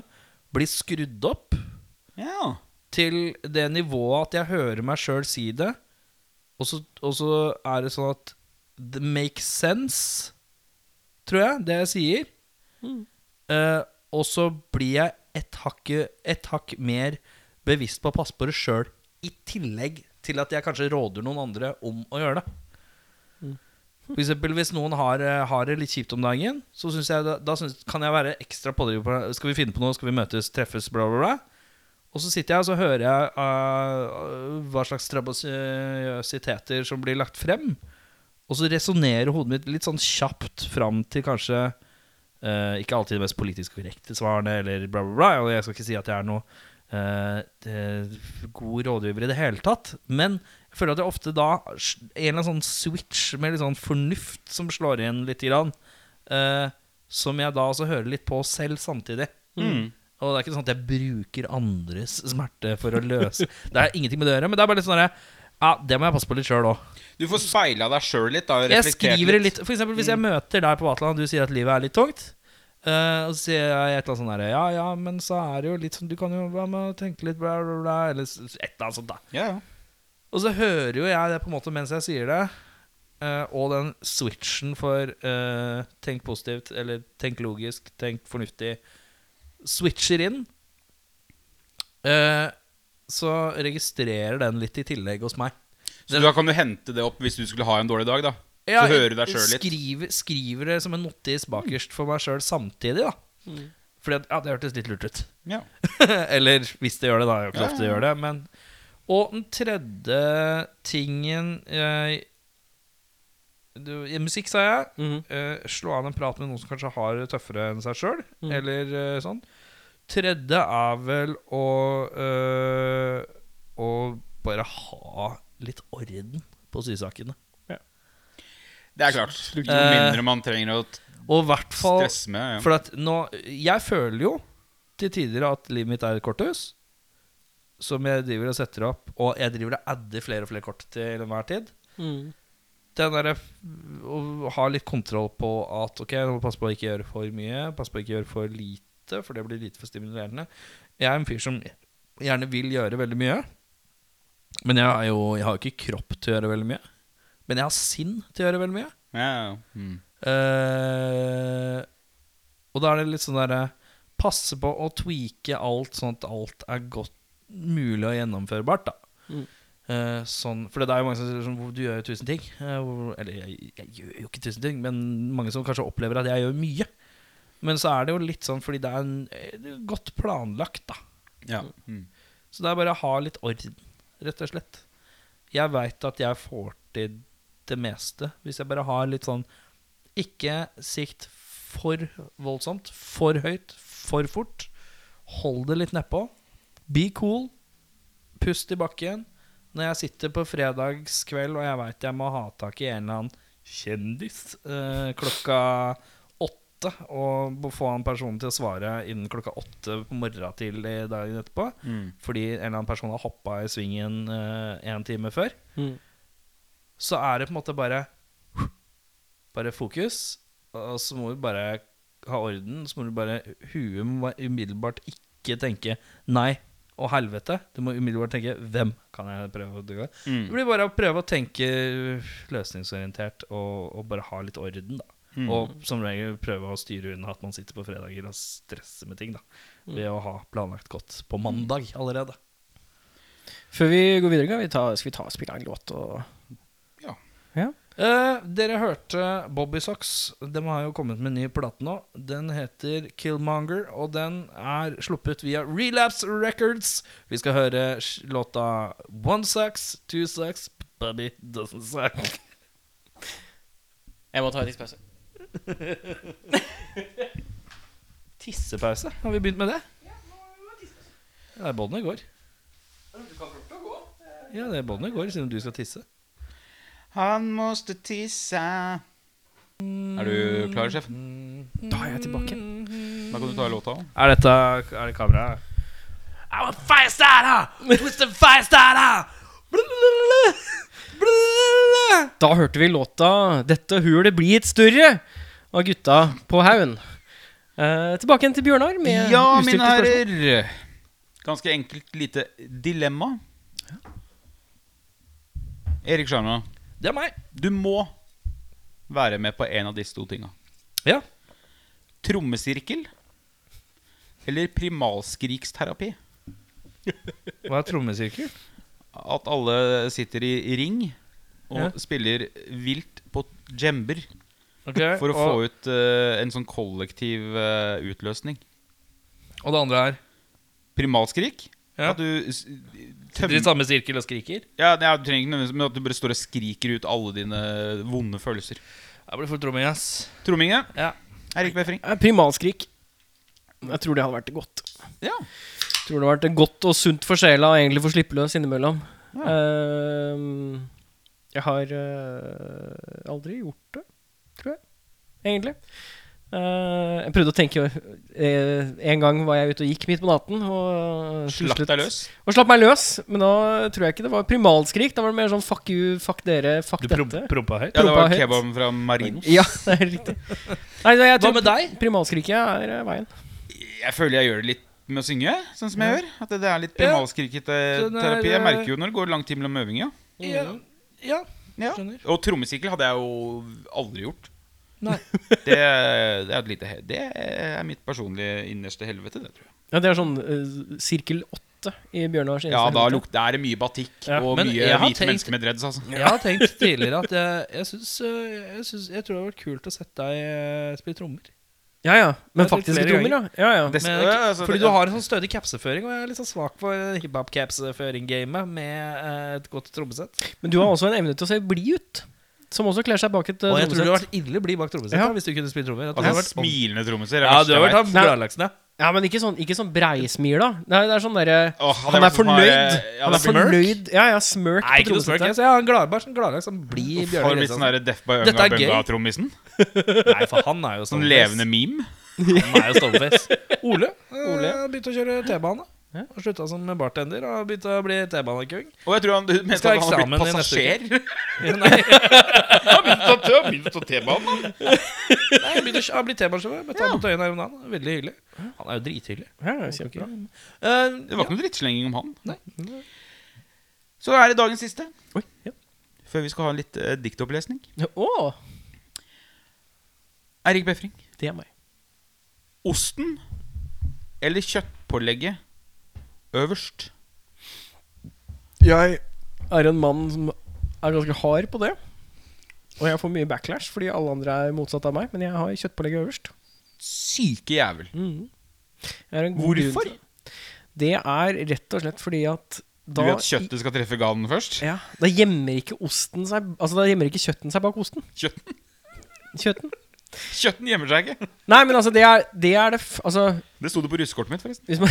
Speaker 2: blir skrudd opp
Speaker 3: ja.
Speaker 2: til det nivået at jeg hører meg sjøl si det, og så, og så er det sånn at det makes sense, tror jeg, det jeg sier. Eh, og så blir jeg et, hakke, et hakk mer bevisst på å passe på det sjøl, i tillegg til at jeg kanskje råder noen andre om å gjøre det. For eksempel hvis noen har, eh, har det litt kjipt om dagen, så synes jeg, da, da synes, kan jeg være ekstra pådriver. på det. Skal vi finne på noe? Skal vi møtes? Treffes? Bla, bla, bla. Og så sitter jeg og så hører jeg eh, hva slags strabasiøsiteter som blir lagt frem. Og så resonnerer hodet mitt litt sånn kjapt fram til kanskje eh, ikke alltid det mest politisk korrekte svarene, eller bla, bla, bla. Og jeg skal ikke si at jeg er noe eh, det- god rådgiver i det hele tatt. Men jeg føler at jeg ofte da en eller annen sånn switch med litt sånn fornuft som slår inn lite grann, eh, som jeg da også hører litt på selv samtidig.
Speaker 3: Mm.
Speaker 2: Og det er ikke sånn at jeg bruker andres smerte for å løse Det er ingenting med det å gjøre, men det er bare litt sånn derre ja, det må jeg passe på litt sjøl òg.
Speaker 3: Du får speila deg sjøl litt, da. og
Speaker 2: Jeg
Speaker 3: reflektert
Speaker 2: skriver det litt For eksempel hvis jeg møter deg på Vatland, og du sier at livet er litt tungt. eh, og så sier jeg et eller annet sånn derre Ja, ja, men så er det jo litt sånn Du kan jo være med og tenke litt, bla, bla, bla. Eller s- et eller annet sånt, da.
Speaker 3: Ja, ja.
Speaker 2: Og så hører jo jeg det på en måte mens jeg sier det. eh, og den switchen for eh, tenk positivt, eller tenk logisk, tenk fornuftig, switcher inn. Eh, så registrerer den litt i tillegg hos meg.
Speaker 3: Så da kan du hente det opp hvis du skulle ha en dårlig dag, da.
Speaker 2: Ja,
Speaker 3: så hører
Speaker 2: jeg
Speaker 3: du deg sjøl litt.
Speaker 2: Skriver, skriver det som en notis bakerst for meg sjøl samtidig, da.
Speaker 1: Mm.
Speaker 2: Fordi at, ja, det hørtes litt lurt ut.
Speaker 3: Ja.
Speaker 2: Eller hvis det gjør det, da. Jeg er jo ikke så ofte det gjør det. Men. Og den tredje tingen jeg, du, i Musikk, sa jeg.
Speaker 1: Mhm.
Speaker 2: Eh, slå an en prat med noen som kanskje har det tøffere enn seg sjøl, eller eh, sånn. Tredje er vel å eh, Å bare ha litt orden på sysakene.
Speaker 3: Det er klart. Eh, Jo mindre man trenger å t-
Speaker 2: Og i hvert fall
Speaker 3: stresse med. Ja.
Speaker 2: For at nå Jeg føler jo til tider at livet mitt er et korthus. Som jeg driver og setter opp. Og jeg driver og adder flere og flere kort til enhver tid.
Speaker 1: Mm.
Speaker 2: Den derre f- å ha litt kontroll på at ok, nå må jeg passe på å ikke gjøre for mye. Passe på å ikke gjøre for lite, for det blir lite for stimulerende. Jeg er en fyr som gjerne vil gjøre veldig mye. Men jeg, er jo, jeg har jo ikke kropp til å gjøre veldig mye. Men jeg har sinn til å gjøre veldig mye.
Speaker 3: Ja, ja. Mm.
Speaker 2: Eh, og da er det litt sånn derre Passe på å tweake alt sånn at alt er godt mulig og gjennomførbart, da.
Speaker 1: Mm.
Speaker 2: Eh, sånn, for det er jo mange som sier sånn «Hvor Du gjør jo tusen ting. Eh, hvor- Eller jeg, jeg gjør jo ikke tusen ting, men mange som kanskje opplever at jeg gjør mye. Men så er det jo litt sånn fordi det er en, eh, det er godt planlagt, da.
Speaker 3: ja. Mm.
Speaker 2: Så det er bare å ha litt orden, rett og slett. Jeg veit at jeg får til det meste hvis jeg bare har litt sånn Ikke sikt for voldsomt, for høyt, for fort. Hold det litt nedpå. Be cool. Pust i bakken. Når jeg sitter på fredagskveld og jeg veit jeg må ha tak i en eller annen kjendis eh, klokka åtte, og få han personen til å svare innen klokka åtte på morgenen til i dagen etterpå,
Speaker 3: Mm.
Speaker 2: fordi en eller annen person har hoppa i svingen eh, en time før,
Speaker 1: Mm.
Speaker 2: så er det på en måte bare Bare fokus, og så må du bare ha orden. Så må du bare Huet må bare umiddelbart ikke tenke 'nei' og 'helvete'. Du må umiddelbart tenke 'hvem kan jeg prøve å dugge?'
Speaker 3: Mm.
Speaker 2: Det blir bare å prøve å tenke løsningsorientert og, og bare ha litt orden, da. Og som regel prøve å styre unna at man sitter på fredager og stresser med ting, da. Ved å ha planlagt godt på mandag allerede.
Speaker 1: Før vi går videre, kan vi ta, skal vi ta og spille en låt og
Speaker 3: Ja.
Speaker 1: Ja.
Speaker 2: Eh, dere hørte Bobbysocks. De har jo kommet med en ny plate nå. Den heter Killmonger, og den er sluppet via Relapse Records. Vi skal høre sj- låta One Sucks, Two Sucks, Bobby Doesn't Suck.
Speaker 1: Jeg må ta en tidspause.
Speaker 2: Tissepause. Har vi begynt med det? Ja, det er båndet går. Ja, det er båndet går siden du skal tisse.
Speaker 3: Han måste tisse. Er du klar, sjef?
Speaker 1: Da er jeg tilbake.
Speaker 3: Da kan du ta låta.
Speaker 2: Er dette Er det kamera? I'm a firestarter! Twist and firestarter!
Speaker 1: Da hørte vi låta 'Dette hulet blir et større' av gutta på haugen. Eh, tilbake igjen til Bjørnar med
Speaker 3: Ja,
Speaker 1: ustilte
Speaker 3: mine
Speaker 1: spørsmål.
Speaker 3: herrer. Ganske enkelt lite dilemma. Erik Sjarma,
Speaker 2: Det er meg.
Speaker 3: du må være med på en av disse to tinga.
Speaker 2: Ja.
Speaker 3: Trommesirkel eller primalskriksterapi?
Speaker 2: Hva er trommesirkel?
Speaker 3: At alle sitter i ring og
Speaker 2: Ja.
Speaker 3: spiller vilt på djember
Speaker 2: Okay,
Speaker 3: for å
Speaker 2: og,
Speaker 3: få ut eh, en sånn kollektiv eh, utløsning.
Speaker 2: Og det andre er
Speaker 3: Primalskrik?
Speaker 2: Ja.
Speaker 3: At du s-
Speaker 2: Sitter i samme sirkel og skriker?
Speaker 3: Ja, nei, du trenger ikke nødvendigvis Men at du bare står og skriker ut alle dine vonde følelser.
Speaker 2: Jeg blir for tromming, ass.
Speaker 3: Tromminge.
Speaker 2: Ja.
Speaker 3: Erik Befring.
Speaker 1: Eh, Primalskrik. Jeg tror det hadde vært godt.
Speaker 3: Ja.
Speaker 1: Jeg tror det hadde vært godt og sunt for sjela å egentlig få slippe løs innimellom. Eh, jeg har eh, aldri gjort det, tror jeg. Egentlig. Eh, jeg prøvde å tenke eh, En gang var jeg ute og gikk midt på natten. Og til
Speaker 3: Slapp
Speaker 1: slutt-
Speaker 3: deg løs.
Speaker 1: Og slapp meg løs, men da tror jeg ikke det var primalskrik. Da var det mer sånn fuck you, fuck dere, fuck
Speaker 2: Du
Speaker 1: dette.
Speaker 2: prom- prompa høyt?
Speaker 3: Ja, det
Speaker 1: Prompa
Speaker 3: var
Speaker 1: høyt.
Speaker 3: kebaben fra Marinos.
Speaker 1: Ja, det er riktig. Nei, nei, jeg
Speaker 2: Hva
Speaker 1: tror
Speaker 2: med deg?
Speaker 1: primalskriket er eh, veien.
Speaker 3: Jeg føler jeg gjør det litt med å synge, sånn som jeg gjør. At det- det er litt
Speaker 2: Ja.
Speaker 3: primalskrikete
Speaker 2: Den er,
Speaker 3: terapi. Jeg
Speaker 2: eh,
Speaker 3: merker jo når det går lang tid mellom øvinga.
Speaker 2: Ja. ja.
Speaker 3: Ja.
Speaker 2: Skjønner.
Speaker 3: Og trommesirkel hadde jeg jo aldri gjort.
Speaker 2: Nei.
Speaker 3: Det, det, er et lite, he- det er mitt personlige innerste helvete, det, tror jeg.
Speaker 1: Ja, det er sånn eh, sirkel åtte i Bjørnars
Speaker 3: Ja, da
Speaker 1: helvete.
Speaker 3: luk, det er det mye batikk
Speaker 1: Ja,
Speaker 3: og
Speaker 2: men
Speaker 3: mye
Speaker 2: jeg har
Speaker 3: hvite
Speaker 2: tenkt-
Speaker 3: mennesker med dreads, altså.
Speaker 2: Jeg har tenkt tidligere at jeg, jeg syns eh, jeg, syns- jeg tror det hadde vært kult å sette deg eh, spille trommer.
Speaker 1: Ja, ja. Men
Speaker 2: Jeg har tenkt
Speaker 1: faktiske
Speaker 2: flere
Speaker 1: trommer, ja. ja, ja.
Speaker 3: Det-
Speaker 2: Men,
Speaker 3: ja, altså,
Speaker 2: fordi
Speaker 3: det-
Speaker 2: du har en sånn stødig capseføring, og jeg er litt sånn svak for hiphop-capseføring-gamet med eh, et godt trommesett.
Speaker 1: Men du har også en evne til å se blid ut. Som også kler seg bak et eh,
Speaker 2: Og jeg tror du hadde
Speaker 1: trommesett.
Speaker 2: vært ille blid bak trommesettet
Speaker 1: Ja.
Speaker 2: hvis du kunne spille trommer. Jeg tror
Speaker 3: Altså,
Speaker 2: du hadde vært-
Speaker 3: smilende trommiser.
Speaker 2: Ja, du har vært han
Speaker 1: Nei.
Speaker 2: brølaksen, ja.
Speaker 1: Ja, men ikke sånn, ikke sånn breismil, da. Nei, det er sånn derre
Speaker 3: Åh,
Speaker 1: Han
Speaker 3: hadde jeg
Speaker 1: er
Speaker 3: vært sånn
Speaker 1: fornøyd.
Speaker 3: her,
Speaker 1: Han er
Speaker 3: eh, ja, det blir mørkt.
Speaker 1: fornøyd. Ja, ja, smirk
Speaker 2: Nei,
Speaker 1: på
Speaker 2: ikke noe smørk.
Speaker 1: trommesettet.
Speaker 2: Jeg har en gladbar som gladlaks som blir
Speaker 3: Har
Speaker 2: Bjørnar
Speaker 3: du blitt sånn
Speaker 2: Kristiansen.
Speaker 3: der Deff by
Speaker 2: Dette
Speaker 3: Unga
Speaker 2: er gøy.
Speaker 3: Bunga-trommisen?
Speaker 2: Nei, for han er jo
Speaker 3: Sånn
Speaker 2: Stoneface.
Speaker 3: levende meme?
Speaker 2: Han er jo Stoneface. Ole,
Speaker 1: Ole.
Speaker 2: Ole. begynte å kjøre T-bane. Og Slutta som bartender og begynte å bli T-banekung.
Speaker 3: Og jeg tror han du mente
Speaker 2: Skal
Speaker 3: at han har
Speaker 2: eksamen
Speaker 3: blitt
Speaker 2: i neste
Speaker 3: passasjer.
Speaker 2: Nei,
Speaker 3: Han begynte å ta T-banen.
Speaker 2: nei, han begynte å han blir T-banesjåfør. Møtte han på Tøyen her om dagen. Veldig hyggelig. Han er jo drithyggelig.
Speaker 1: Ja, det er kjempebra.
Speaker 2: Eh,
Speaker 3: Det var ikke noe drittslenging om han.
Speaker 2: Nei.
Speaker 3: Så er det dagens siste.
Speaker 1: Oi, ja.
Speaker 3: Før vi skal ha en litt eh, diktopplesning.
Speaker 1: Å,
Speaker 3: Erik Befring.
Speaker 1: det er meg.
Speaker 3: Osten eller kjøttpålegget øverst?
Speaker 1: Jeg er en mann som er ganske hard på det. Og jeg får mye backlash fordi alle andre er motsatt av meg. Men jeg har kjøttpålegget øverst.
Speaker 3: Syke jævel.
Speaker 1: Jeg har en god grunn
Speaker 3: Hvorfor?
Speaker 1: til det. Det er rett og slett fordi at
Speaker 3: Du
Speaker 1: da
Speaker 3: vil at kjøttet skal treffe ganen først?
Speaker 1: ja, Da gjemmer ikke osten seg Altså da gjemmer ikke kjøtten seg bak osten.
Speaker 3: Kjøtten,
Speaker 1: Kjøtten.
Speaker 3: kjøtten gjemmer seg ikke.
Speaker 1: Nei, men altså, det er det, er det f Altså,
Speaker 3: Det sto det på russekortet mitt, forresten.
Speaker 1: hvis man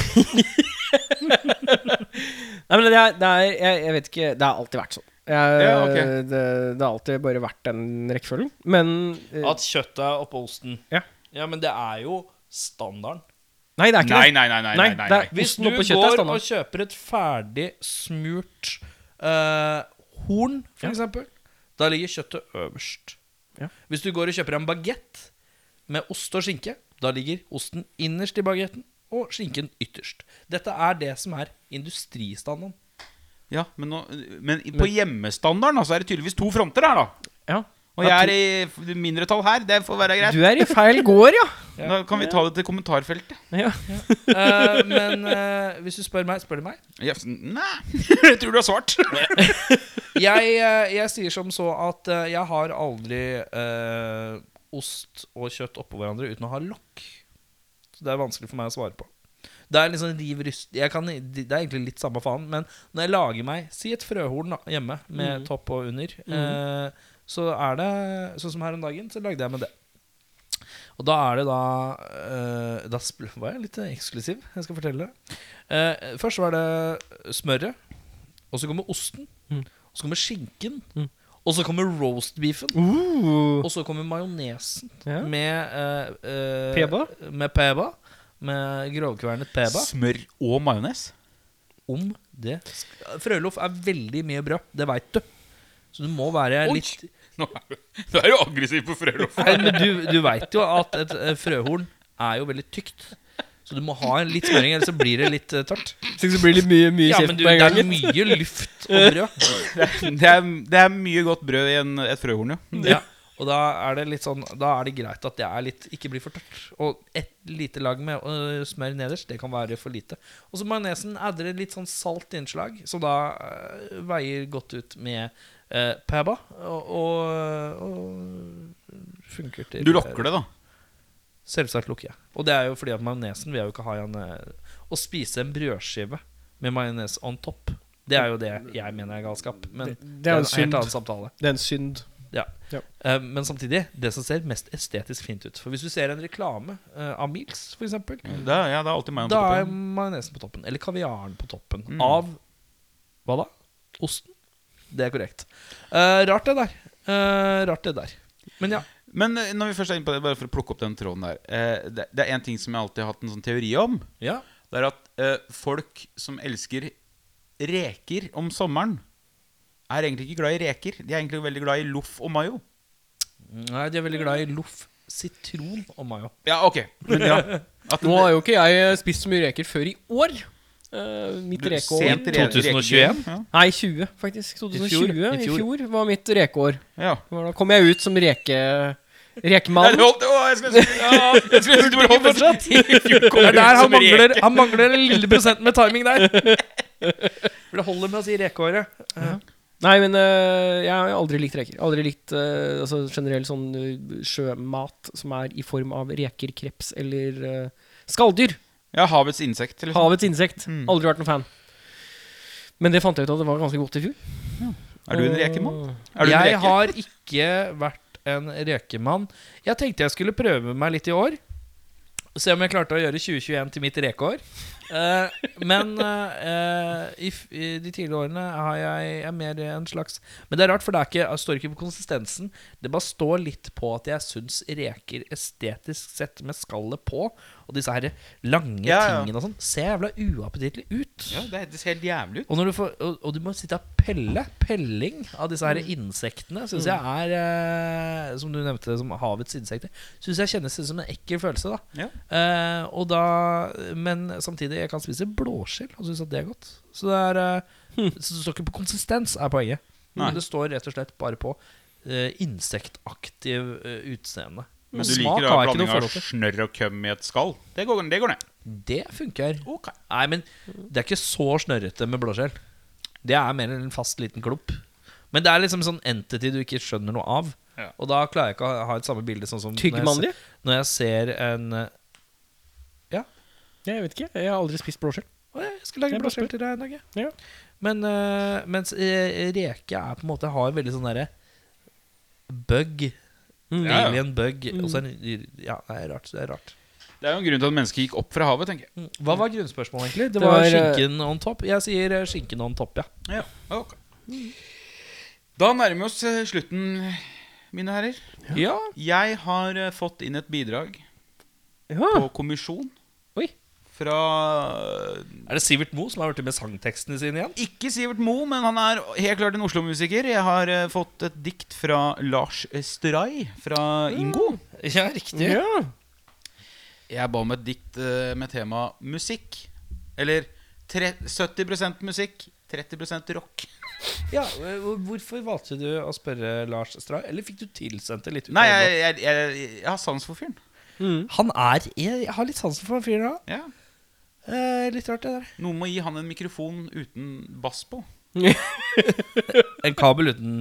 Speaker 1: Nei, men det er, det er jeg, jeg vet ikke Det har alltid vært sånn. Jeg,
Speaker 3: Ja, ok.
Speaker 1: det, det har alltid bare vært den rekkefølgen. Men eh,
Speaker 2: At kjøttet er oppå osten.
Speaker 1: Ja.
Speaker 2: ja, men det er jo standarden.
Speaker 1: Nei, det er ikke
Speaker 3: Nei,
Speaker 1: det.
Speaker 3: nei, nei. nei, nei,
Speaker 1: Nei,
Speaker 3: nei,
Speaker 1: det er-
Speaker 3: nei.
Speaker 2: Hvis
Speaker 1: Osten
Speaker 2: du
Speaker 1: oppå kjøttet er
Speaker 2: går
Speaker 1: standard.
Speaker 2: og kjøper et ferdig smurt eh, horn, for eksempel, da ligger kjøttet øverst.
Speaker 1: Ja.
Speaker 2: Hvis du går og kjøper en bagett med ost og skinke, da ligger osten innerst i bagetten og skinken ytterst. Dette er det som er industristandarden.
Speaker 3: Ja, men, nå, men på hjemmestandarden altså, er det tydeligvis to fronter her, da.
Speaker 1: Ja.
Speaker 3: Og Og jeg er i mindretall her. Det får være greit.
Speaker 1: Du er i feil gård, ja.
Speaker 3: Da kan vi ta det til kommentarfeltet.
Speaker 1: ja.
Speaker 2: Eh, men eh, hvis du spør meg, spør du meg.
Speaker 3: Ja, så- nei, jeg tror du har svart.
Speaker 2: Jeg, eh, jeg sier som så at eh, jeg har aldri eh, ost og kjøtt oppå hverandre uten å ha lokk. Så det er vanskelig for meg å svare på. Det er liksom riv ryst jeg kan, Det er egentlig litt samme faen, men når jeg lager meg Si et frøhorn da, hjemme med topp og under. eh, så er det sånn som her om dagen, så lagde jeg med det. Og da er det da eh, Da sp- var jeg litt eksklusiv. Jeg skal fortelle det. Eh, først var det smøret. Og så kommer osten. Og så kommer skinken. Og så kommer roastbeefen.
Speaker 1: Mm. Uh.
Speaker 2: Og så kommer majonesen
Speaker 1: Ja.
Speaker 2: med eh, eh,
Speaker 1: Peba?
Speaker 2: Med peba. Med grovkvernet peba.
Speaker 3: Smør og majones.
Speaker 2: Om det sk- Frøloff er veldig mye brød, det veit du. Så du må være
Speaker 3: Oi.
Speaker 2: litt
Speaker 3: Nå er du- du er jo aggressiv på frølov.
Speaker 2: Nei, men du, du veit jo at et eh, frøhorn er jo veldig tykt. Så du må ha en litt smøring, ellers så blir det litt eh, tørt.
Speaker 1: Så det blir litt mye, mye
Speaker 2: Ja,
Speaker 1: kjeft
Speaker 2: men du,
Speaker 1: på
Speaker 2: det
Speaker 1: en gang.
Speaker 2: er mye luft og brød.
Speaker 3: Det er, det er mye godt brød i en, et frøhorn, jo.
Speaker 2: Ja. Mm. Og da er det litt sånn Da er det greit at det er litt ikke blir for tørt. Og et lite lag med øh, smør nederst, det kan være for lite. Og så majonesen adder litt sånn salt innslag, som da øh, veier godt ut med øh, peba. Og, og, og funker til
Speaker 3: Du lokker det, da.
Speaker 2: Selvsagt lukker jeg. Og det er jo fordi at majonesen vil jeg jo ikke ha i en eh, Å spise en brødskive med majones on top, det er jo det jeg mener er galskap. Men det,
Speaker 1: er
Speaker 2: er
Speaker 1: jo
Speaker 2: en
Speaker 1: synd.
Speaker 2: helt annen samtale.
Speaker 1: Det er en synd.
Speaker 2: Ja.
Speaker 1: Ja.
Speaker 2: Eh, men samtidig, det som ser mest estetisk fint ut. For hvis du ser en reklame eh, av Meals, for eksempel,
Speaker 3: Da, ja, da er alltid majones
Speaker 2: da
Speaker 3: på
Speaker 2: er
Speaker 3: toppen.
Speaker 2: majonesen på Mm. toppen. Eller kaviaren på toppen.
Speaker 3: Mm.
Speaker 2: Av hva da? Osten. Det er korrekt. Eh, rart det der. Eh, rart det der. Men ja.
Speaker 3: Men eh, når vi først er inne på det, bare for å plukke opp den tråden der eh, det, det er en ting som jeg alltid har hatt en sånn teori om.
Speaker 2: ja.
Speaker 3: Det er at eh, folk som elsker reker om sommeren, er egentlig ikke glad i reker. De er egentlig veldig glad i loff og mayo.
Speaker 2: Nei, de er veldig glad i loff, sitron og mayo.
Speaker 3: Ja, ok. Men ja, at
Speaker 1: Nå har jo ikke jeg eh, spist så mye reker før i år. Eh, mitt
Speaker 3: du-
Speaker 1: rekeår
Speaker 3: sent re-
Speaker 2: 2021?
Speaker 3: rekeår,
Speaker 1: Nei, 20, faktisk. 2020. I fjor,
Speaker 2: I fjor.
Speaker 1: var mitt rekeår.
Speaker 3: Ja. ja.
Speaker 1: Det var Da kom jeg ut som reke...
Speaker 3: Nei,
Speaker 1: Rekemann.
Speaker 3: det holdt, å, jeg skulle si ja, Jeg skulle si du bare holdt fortsatt.
Speaker 2: Det er der han mangler,
Speaker 3: reke.
Speaker 2: han mangler en lille prosent med timing der. For det holder med å si rekeåret.
Speaker 1: Nei, men øh, jeg har aldri likt reker. Aldri likt øh, altså generell sånn øh, sjømat som er i form av reker, kreps eller øh, skalldyr.
Speaker 3: Ja, havets insekt. Eller
Speaker 1: Havets insekt.
Speaker 3: Mm.
Speaker 1: Aldri vært noen fan. Men det fant jeg ut at det var ganske godt i fjor.
Speaker 3: sånn. Er du en rekemann? Er du en
Speaker 2: Jeg
Speaker 3: reke?
Speaker 2: har ikke vært en rekemann. Jeg tenkte jeg skulle prøve meg litt i år. Se om jeg klarte å gjøre 2021 til mitt rekeår. Eh, men eh, eh, i, f i de tidligere årene har jeg er mer en slags Men det er rart, for det, er ikke, det står ikke på konsistensen. Det bare står litt på at jeg syns reker estetisk sett med skallet på, og disse her lange
Speaker 3: Ja, ja.
Speaker 2: tingene og sånn, ser jævla uappetittlig ut.
Speaker 3: Ja, det ser helt jævlig ut.
Speaker 2: Og, når du får, og, og du må sitte og pelle. Pelling av disse
Speaker 3: Mm.
Speaker 2: her insektene syns jeg er eh, Som du nevnte, som havets insekter. Syns jeg kjennes ut som en ekkel følelse. da
Speaker 3: Ja.
Speaker 2: Eh, Og da Men samtidig, jeg kan spise blåskjell og syns at det er godt. Så det er eh, Så det står ikke på konsistens, er poenget.
Speaker 3: Hm. Nei.
Speaker 2: Men det står rett og slett bare på eh, insektaktiv eh, utseende.
Speaker 3: Men du
Speaker 2: Smak
Speaker 3: liker da
Speaker 2: har jeg ikke noe
Speaker 3: blanding av
Speaker 2: forhold til.
Speaker 3: snørr og køm i et skall? Det går, det går ned.
Speaker 2: Det funker. Nei, men det er ikke så snørrete med blåskjell. Det er mer en fast liten klump. Men det er liksom en sånn entity du ikke skjønner noe av.
Speaker 3: Ja.
Speaker 2: Og da klarer jeg ikke å ha et samme bilde sånn som når
Speaker 1: Tygger
Speaker 2: jeg
Speaker 1: man
Speaker 2: se-
Speaker 1: de?
Speaker 2: Når jeg ser en eh,
Speaker 1: Jeg vet ikke. Jeg har aldri spist blåskjell.
Speaker 2: Å, jeg skal lage
Speaker 1: Jeg bare
Speaker 2: blåskjell til deg en dag, jeg.
Speaker 1: Ja.
Speaker 2: Men eh, mens eh, reke er på en måte har veldig sånn derre bug.
Speaker 1: Mm.
Speaker 3: Ja, ja.
Speaker 2: Alien bug. Og så er den- Ja, det er rart. Det er rart. Mm.
Speaker 3: Det er jo en grunn til at mennesket gikk opp fra havet, tenker jeg.
Speaker 2: Hva var grunnspørsmålet, egentlig?
Speaker 1: Det
Speaker 2: Det var,
Speaker 1: var, eh,
Speaker 2: skinken on top. Jeg sier eh, skinken on top, ja.
Speaker 3: Ja, ok Da nærmer vi oss eh, slutten, mine herrer.
Speaker 2: Ja,
Speaker 3: Jeg har eh, fått inn et bidrag
Speaker 1: Ja.
Speaker 3: på kommisjon
Speaker 1: Oi.
Speaker 3: fra eh,
Speaker 2: Er det Sivert Moe som har vært med sangtekstene sine igjen?
Speaker 3: Ikke Sivert Moe, men han er helt klart en Oslo-musiker. Jeg har eh, fått et dikt fra Lars Stray fra Ingo.
Speaker 2: Ja, riktig.
Speaker 1: Ja.
Speaker 3: Jeg ba om et dikt eh, med tema musikk. Eller tre, 70 musikk, 30 rock.
Speaker 2: Ja, hvor- Hvorfor valgte du å spørre Lars Strand? Eller fikk du tilsendt det litt? ut
Speaker 3: Nei,
Speaker 2: av
Speaker 3: jeg,
Speaker 2: det blå?
Speaker 3: jeg, jeg, jeg har sans for fyren.
Speaker 1: Mm.
Speaker 2: Han er Jeg har litt sansen for han fyren da.
Speaker 3: Ja.
Speaker 2: Eh, litt rart, det der.
Speaker 3: Noen må gi han en mikrofon uten bass på.
Speaker 2: En kabel uten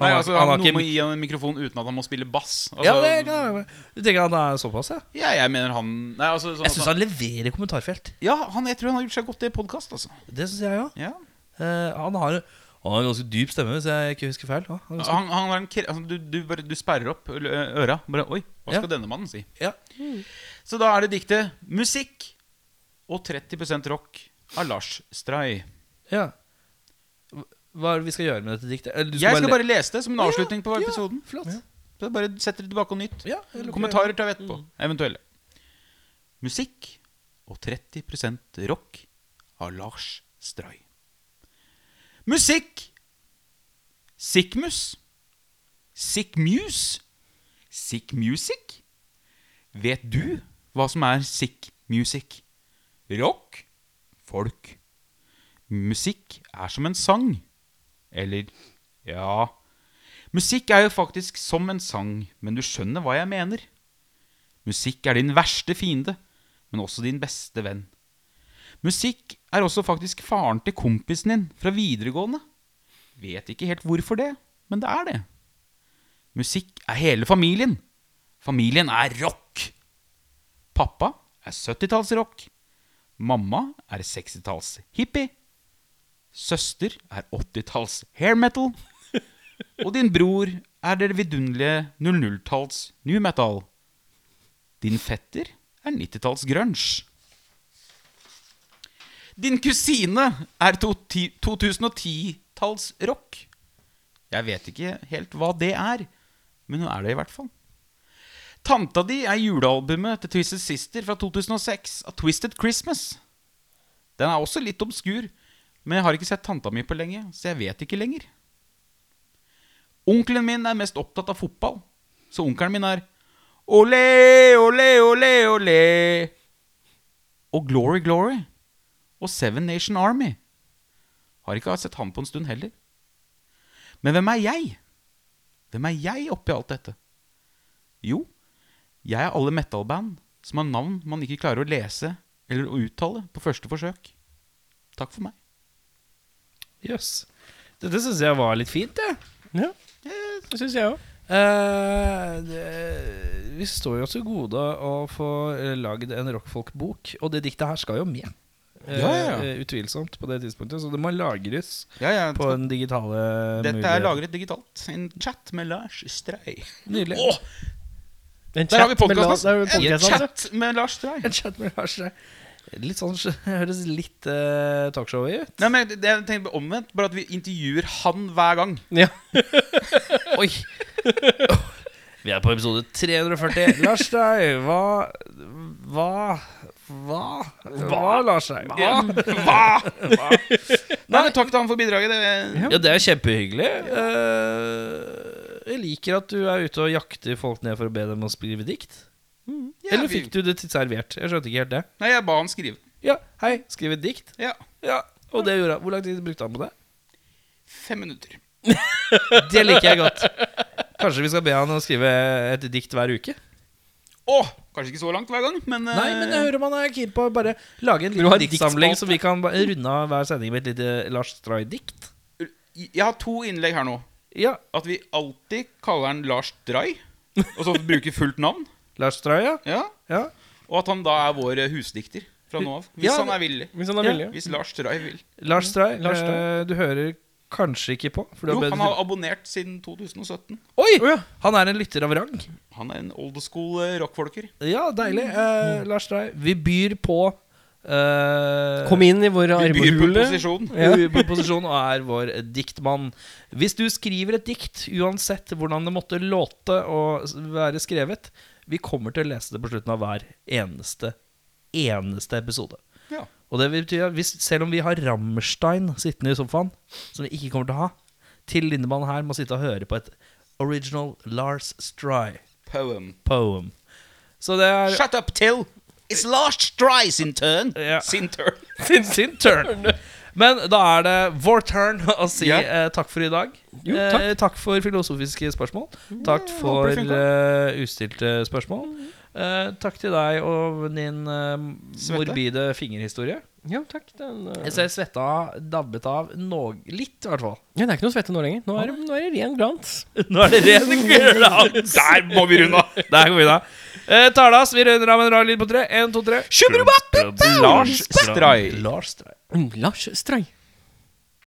Speaker 3: Nei,
Speaker 2: har-
Speaker 3: altså,
Speaker 2: han har
Speaker 3: noen
Speaker 2: ikke-
Speaker 3: må gi han en mikrofon uten at han må spille bass. Altså,
Speaker 2: Ja, det kan jeg Du tenker han er såpass, ja?
Speaker 3: ja, jeg mener han Nei, altså sånn
Speaker 2: Jeg
Speaker 3: at
Speaker 2: syns
Speaker 3: han,
Speaker 2: han leverer kommentarfelt.
Speaker 3: Ja, han, jeg tror han har gjort seg godt i podkast, altså.
Speaker 2: Det syns jeg òg.
Speaker 3: Ja.
Speaker 2: han har han har en ganske dyp stemme, hvis jeg ikke husker feil. Ja, han er ganske-
Speaker 3: Han, han har en kre- altså, du, du, bare, du sperrer opp ø- øra. Bare, Oi, hva
Speaker 2: Ja.
Speaker 3: skal denne mannen si?
Speaker 2: Ja.
Speaker 3: Så da er det diktet 'Musikk' og 30 rock av Lars Stray.
Speaker 2: ja. Hva er det vi skal gjøre med dette diktet? Eller du
Speaker 3: Jeg skal
Speaker 2: le-
Speaker 3: bare lese det som en
Speaker 2: Ja,
Speaker 3: avslutning på
Speaker 2: ja,
Speaker 3: episoden.
Speaker 2: flott.
Speaker 3: Så bare setter det tilbake og nytt.
Speaker 2: Ja, jeg lukker
Speaker 3: Kommentarer tar vi etterpå. Eventuelle. Musikk og 30 rock av Lars Stray. Musikk Sickmus. Sickmuse. Sickmusic. Vet du hva som er sickmusic? Rock. Folk. Musikk er som en sang. Eller ja Musikk er jo faktisk som en sang, men du skjønner hva jeg mener. Musikk er din verste fiende, men også din beste venn. Musikk er også faktisk faren til kompisen din fra videregående. Vet ikke helt hvorfor det, men det er det. Musikk er hele familien. Familien er rock. Pappa er 70-tallsrock. Mamma er 60-talls-hippie. Søster er 80-talls-hair metal. Og din bror er det vidunderlige 00-talls new metal. Din fetter er 90-talls grunge. Din kusine er to- ti- 2010-talls rock. Jeg vet ikke helt hva det er, men hun er det i hvert fall. Tanta di er julealbumet til Twisted Sister fra 2006 av Twisted Christmas. Den er også litt obskur, men jeg har ikke sett tanta mi på lenge, så jeg vet ikke lenger. Onkelen min er mest opptatt av fotball, så onkelen min er Ole, ole, ole, ole. Og Glory Glory. Og Seven Nation Army. Har ikke sett han på en stund heller. Men hvem er jeg? Hvem er jeg oppi alt dette? Jo, jeg er alle metal-band som har navn man ikke klarer å lese eller å uttale på første forsøk. Takk for meg.
Speaker 2: Jøss. Dette syns jeg var litt fint, jeg.
Speaker 1: Ja, det syns jeg òg.
Speaker 2: Eh, det- vi står jo til gode å få eh, lagd en rockfolk-bok, og det diktet her skal jo med. Eh,
Speaker 3: Ja, ja, ja.
Speaker 2: eh, Utvilsomt på det tidspunktet, så det må lagres
Speaker 3: Ja, ja,
Speaker 2: på den digitale
Speaker 3: dette
Speaker 2: muligheten.
Speaker 3: er lagret digitalt. En chat med Lars Strei.
Speaker 2: Nydelig.
Speaker 3: Åh, Der har vi podkasten. En
Speaker 1: podkasten.
Speaker 2: altså.
Speaker 3: chat med Lars Stray.
Speaker 2: En chat med Lars Strei. Litt sånn høres litt eh, talkshow ut.
Speaker 3: Nei, men det- jeg tenker på omvendt, bare at vi intervjuer han hver gang.
Speaker 1: Ja.
Speaker 2: Oi! Vi er på episode 340. Lars Strei, hva Hva? Hva? Hva, Lars Strei? Hva?
Speaker 3: Nei, men Takk til han for bidraget. Det,
Speaker 2: Ja, det er kjempehyggelig. Eh, jeg liker at du er ute og jakter folk ned for å be dem å skrive dikt.
Speaker 3: Mm, Ja,
Speaker 2: Eller
Speaker 3: vi-
Speaker 2: fikk du det til servert? Jeg skjønte ikke helt det.
Speaker 3: Nei, jeg ba han skrive.
Speaker 2: Ja, hei, skriv et dikt.
Speaker 3: Ja,
Speaker 2: Ja, Og det gjorde han. Hvor lang tid brukte han på det?
Speaker 3: Fem minutter.
Speaker 2: Det liker jeg godt. Kanskje vi skal be han å skrive et dikt hver uke?
Speaker 3: Å, kanskje ikke så langt hver gang, men eh,
Speaker 2: Nei, men jeg hører man er keen på å bare lage en
Speaker 1: du ha
Speaker 2: liten
Speaker 1: en
Speaker 2: diktsamling,
Speaker 1: diktspalte?
Speaker 2: så vi kan ba- runde av hver sending med et lite Lars Stray-dikt.
Speaker 3: Jeg har to innlegg her nå.
Speaker 2: Ja,
Speaker 3: At vi alltid kaller han Lars Dray, og så bruker fullt navn.
Speaker 2: Lars Stray, ja.
Speaker 3: Ja,
Speaker 2: ja.
Speaker 3: Og at han da er vår husdikter fra nå av. Hvis
Speaker 2: Ja,
Speaker 3: han er villig.
Speaker 1: Hvis han er
Speaker 2: Ja.
Speaker 1: villig.
Speaker 3: Hvis Lars Dray vil.
Speaker 2: Mm. Lars Stray,
Speaker 1: Lars Stray.
Speaker 2: eh, du hører kanskje ikke på? For du
Speaker 3: Jo,
Speaker 2: har bedt-
Speaker 3: han har abonnert siden 2017.
Speaker 2: Oi! Han er en lytter av rang.
Speaker 3: Han er en old school eh, rockfolker.
Speaker 2: Ja, deilig. Eh, Lars Stray, vi byr på eh,
Speaker 1: Kom inn i våre
Speaker 3: Vi byr på
Speaker 1: armhule.
Speaker 3: posisjon.
Speaker 2: Ja. på posisjon og er vår diktmann. Hvis du skriver et dikt, uansett hvordan det måtte låte og s- være skrevet, vi kommer til å lese det på slutten av hver eneste, eneste episode.
Speaker 3: Ja.
Speaker 2: Og det betyr at hvis, selv om vi har Rammstein sittende i sofaen, som vi ikke kommer til å ha, til Lindemann her må sitte og høre på et original Lars Stray-poem.
Speaker 3: Poem.
Speaker 2: Så det er
Speaker 3: Shut up till It's Lars Dry sin turn.
Speaker 2: Ja.
Speaker 3: Sin turn.
Speaker 2: Sin, sin turn. Men da er det vår turn å si
Speaker 3: Ja.
Speaker 2: eh, takk for i dag.
Speaker 1: Jo, takk.
Speaker 2: Eh, takk for filosofiske spørsmål. Takk for
Speaker 3: håper det
Speaker 2: eh, ustilte spørsmål. Eh, takk til deg og din eh,
Speaker 3: Svette.
Speaker 2: morbide fingerhistorie.
Speaker 1: Ja, takk. Den, eh,
Speaker 2: Jeg ser svetta dabbet av noe litt, i hvert fall.
Speaker 1: ja, det er ikke noe svette nå lenger. Nå er det, nå er det ren glans.
Speaker 2: Nå er det ren glans!
Speaker 3: Der må vi runde av!
Speaker 2: Der går vi da. Eh, Tardas, vi runder av med en rar lyd på tre. En, to, tre.
Speaker 3: Lars Stray.
Speaker 2: Lars Stray.
Speaker 1: Mm, Lars Stray.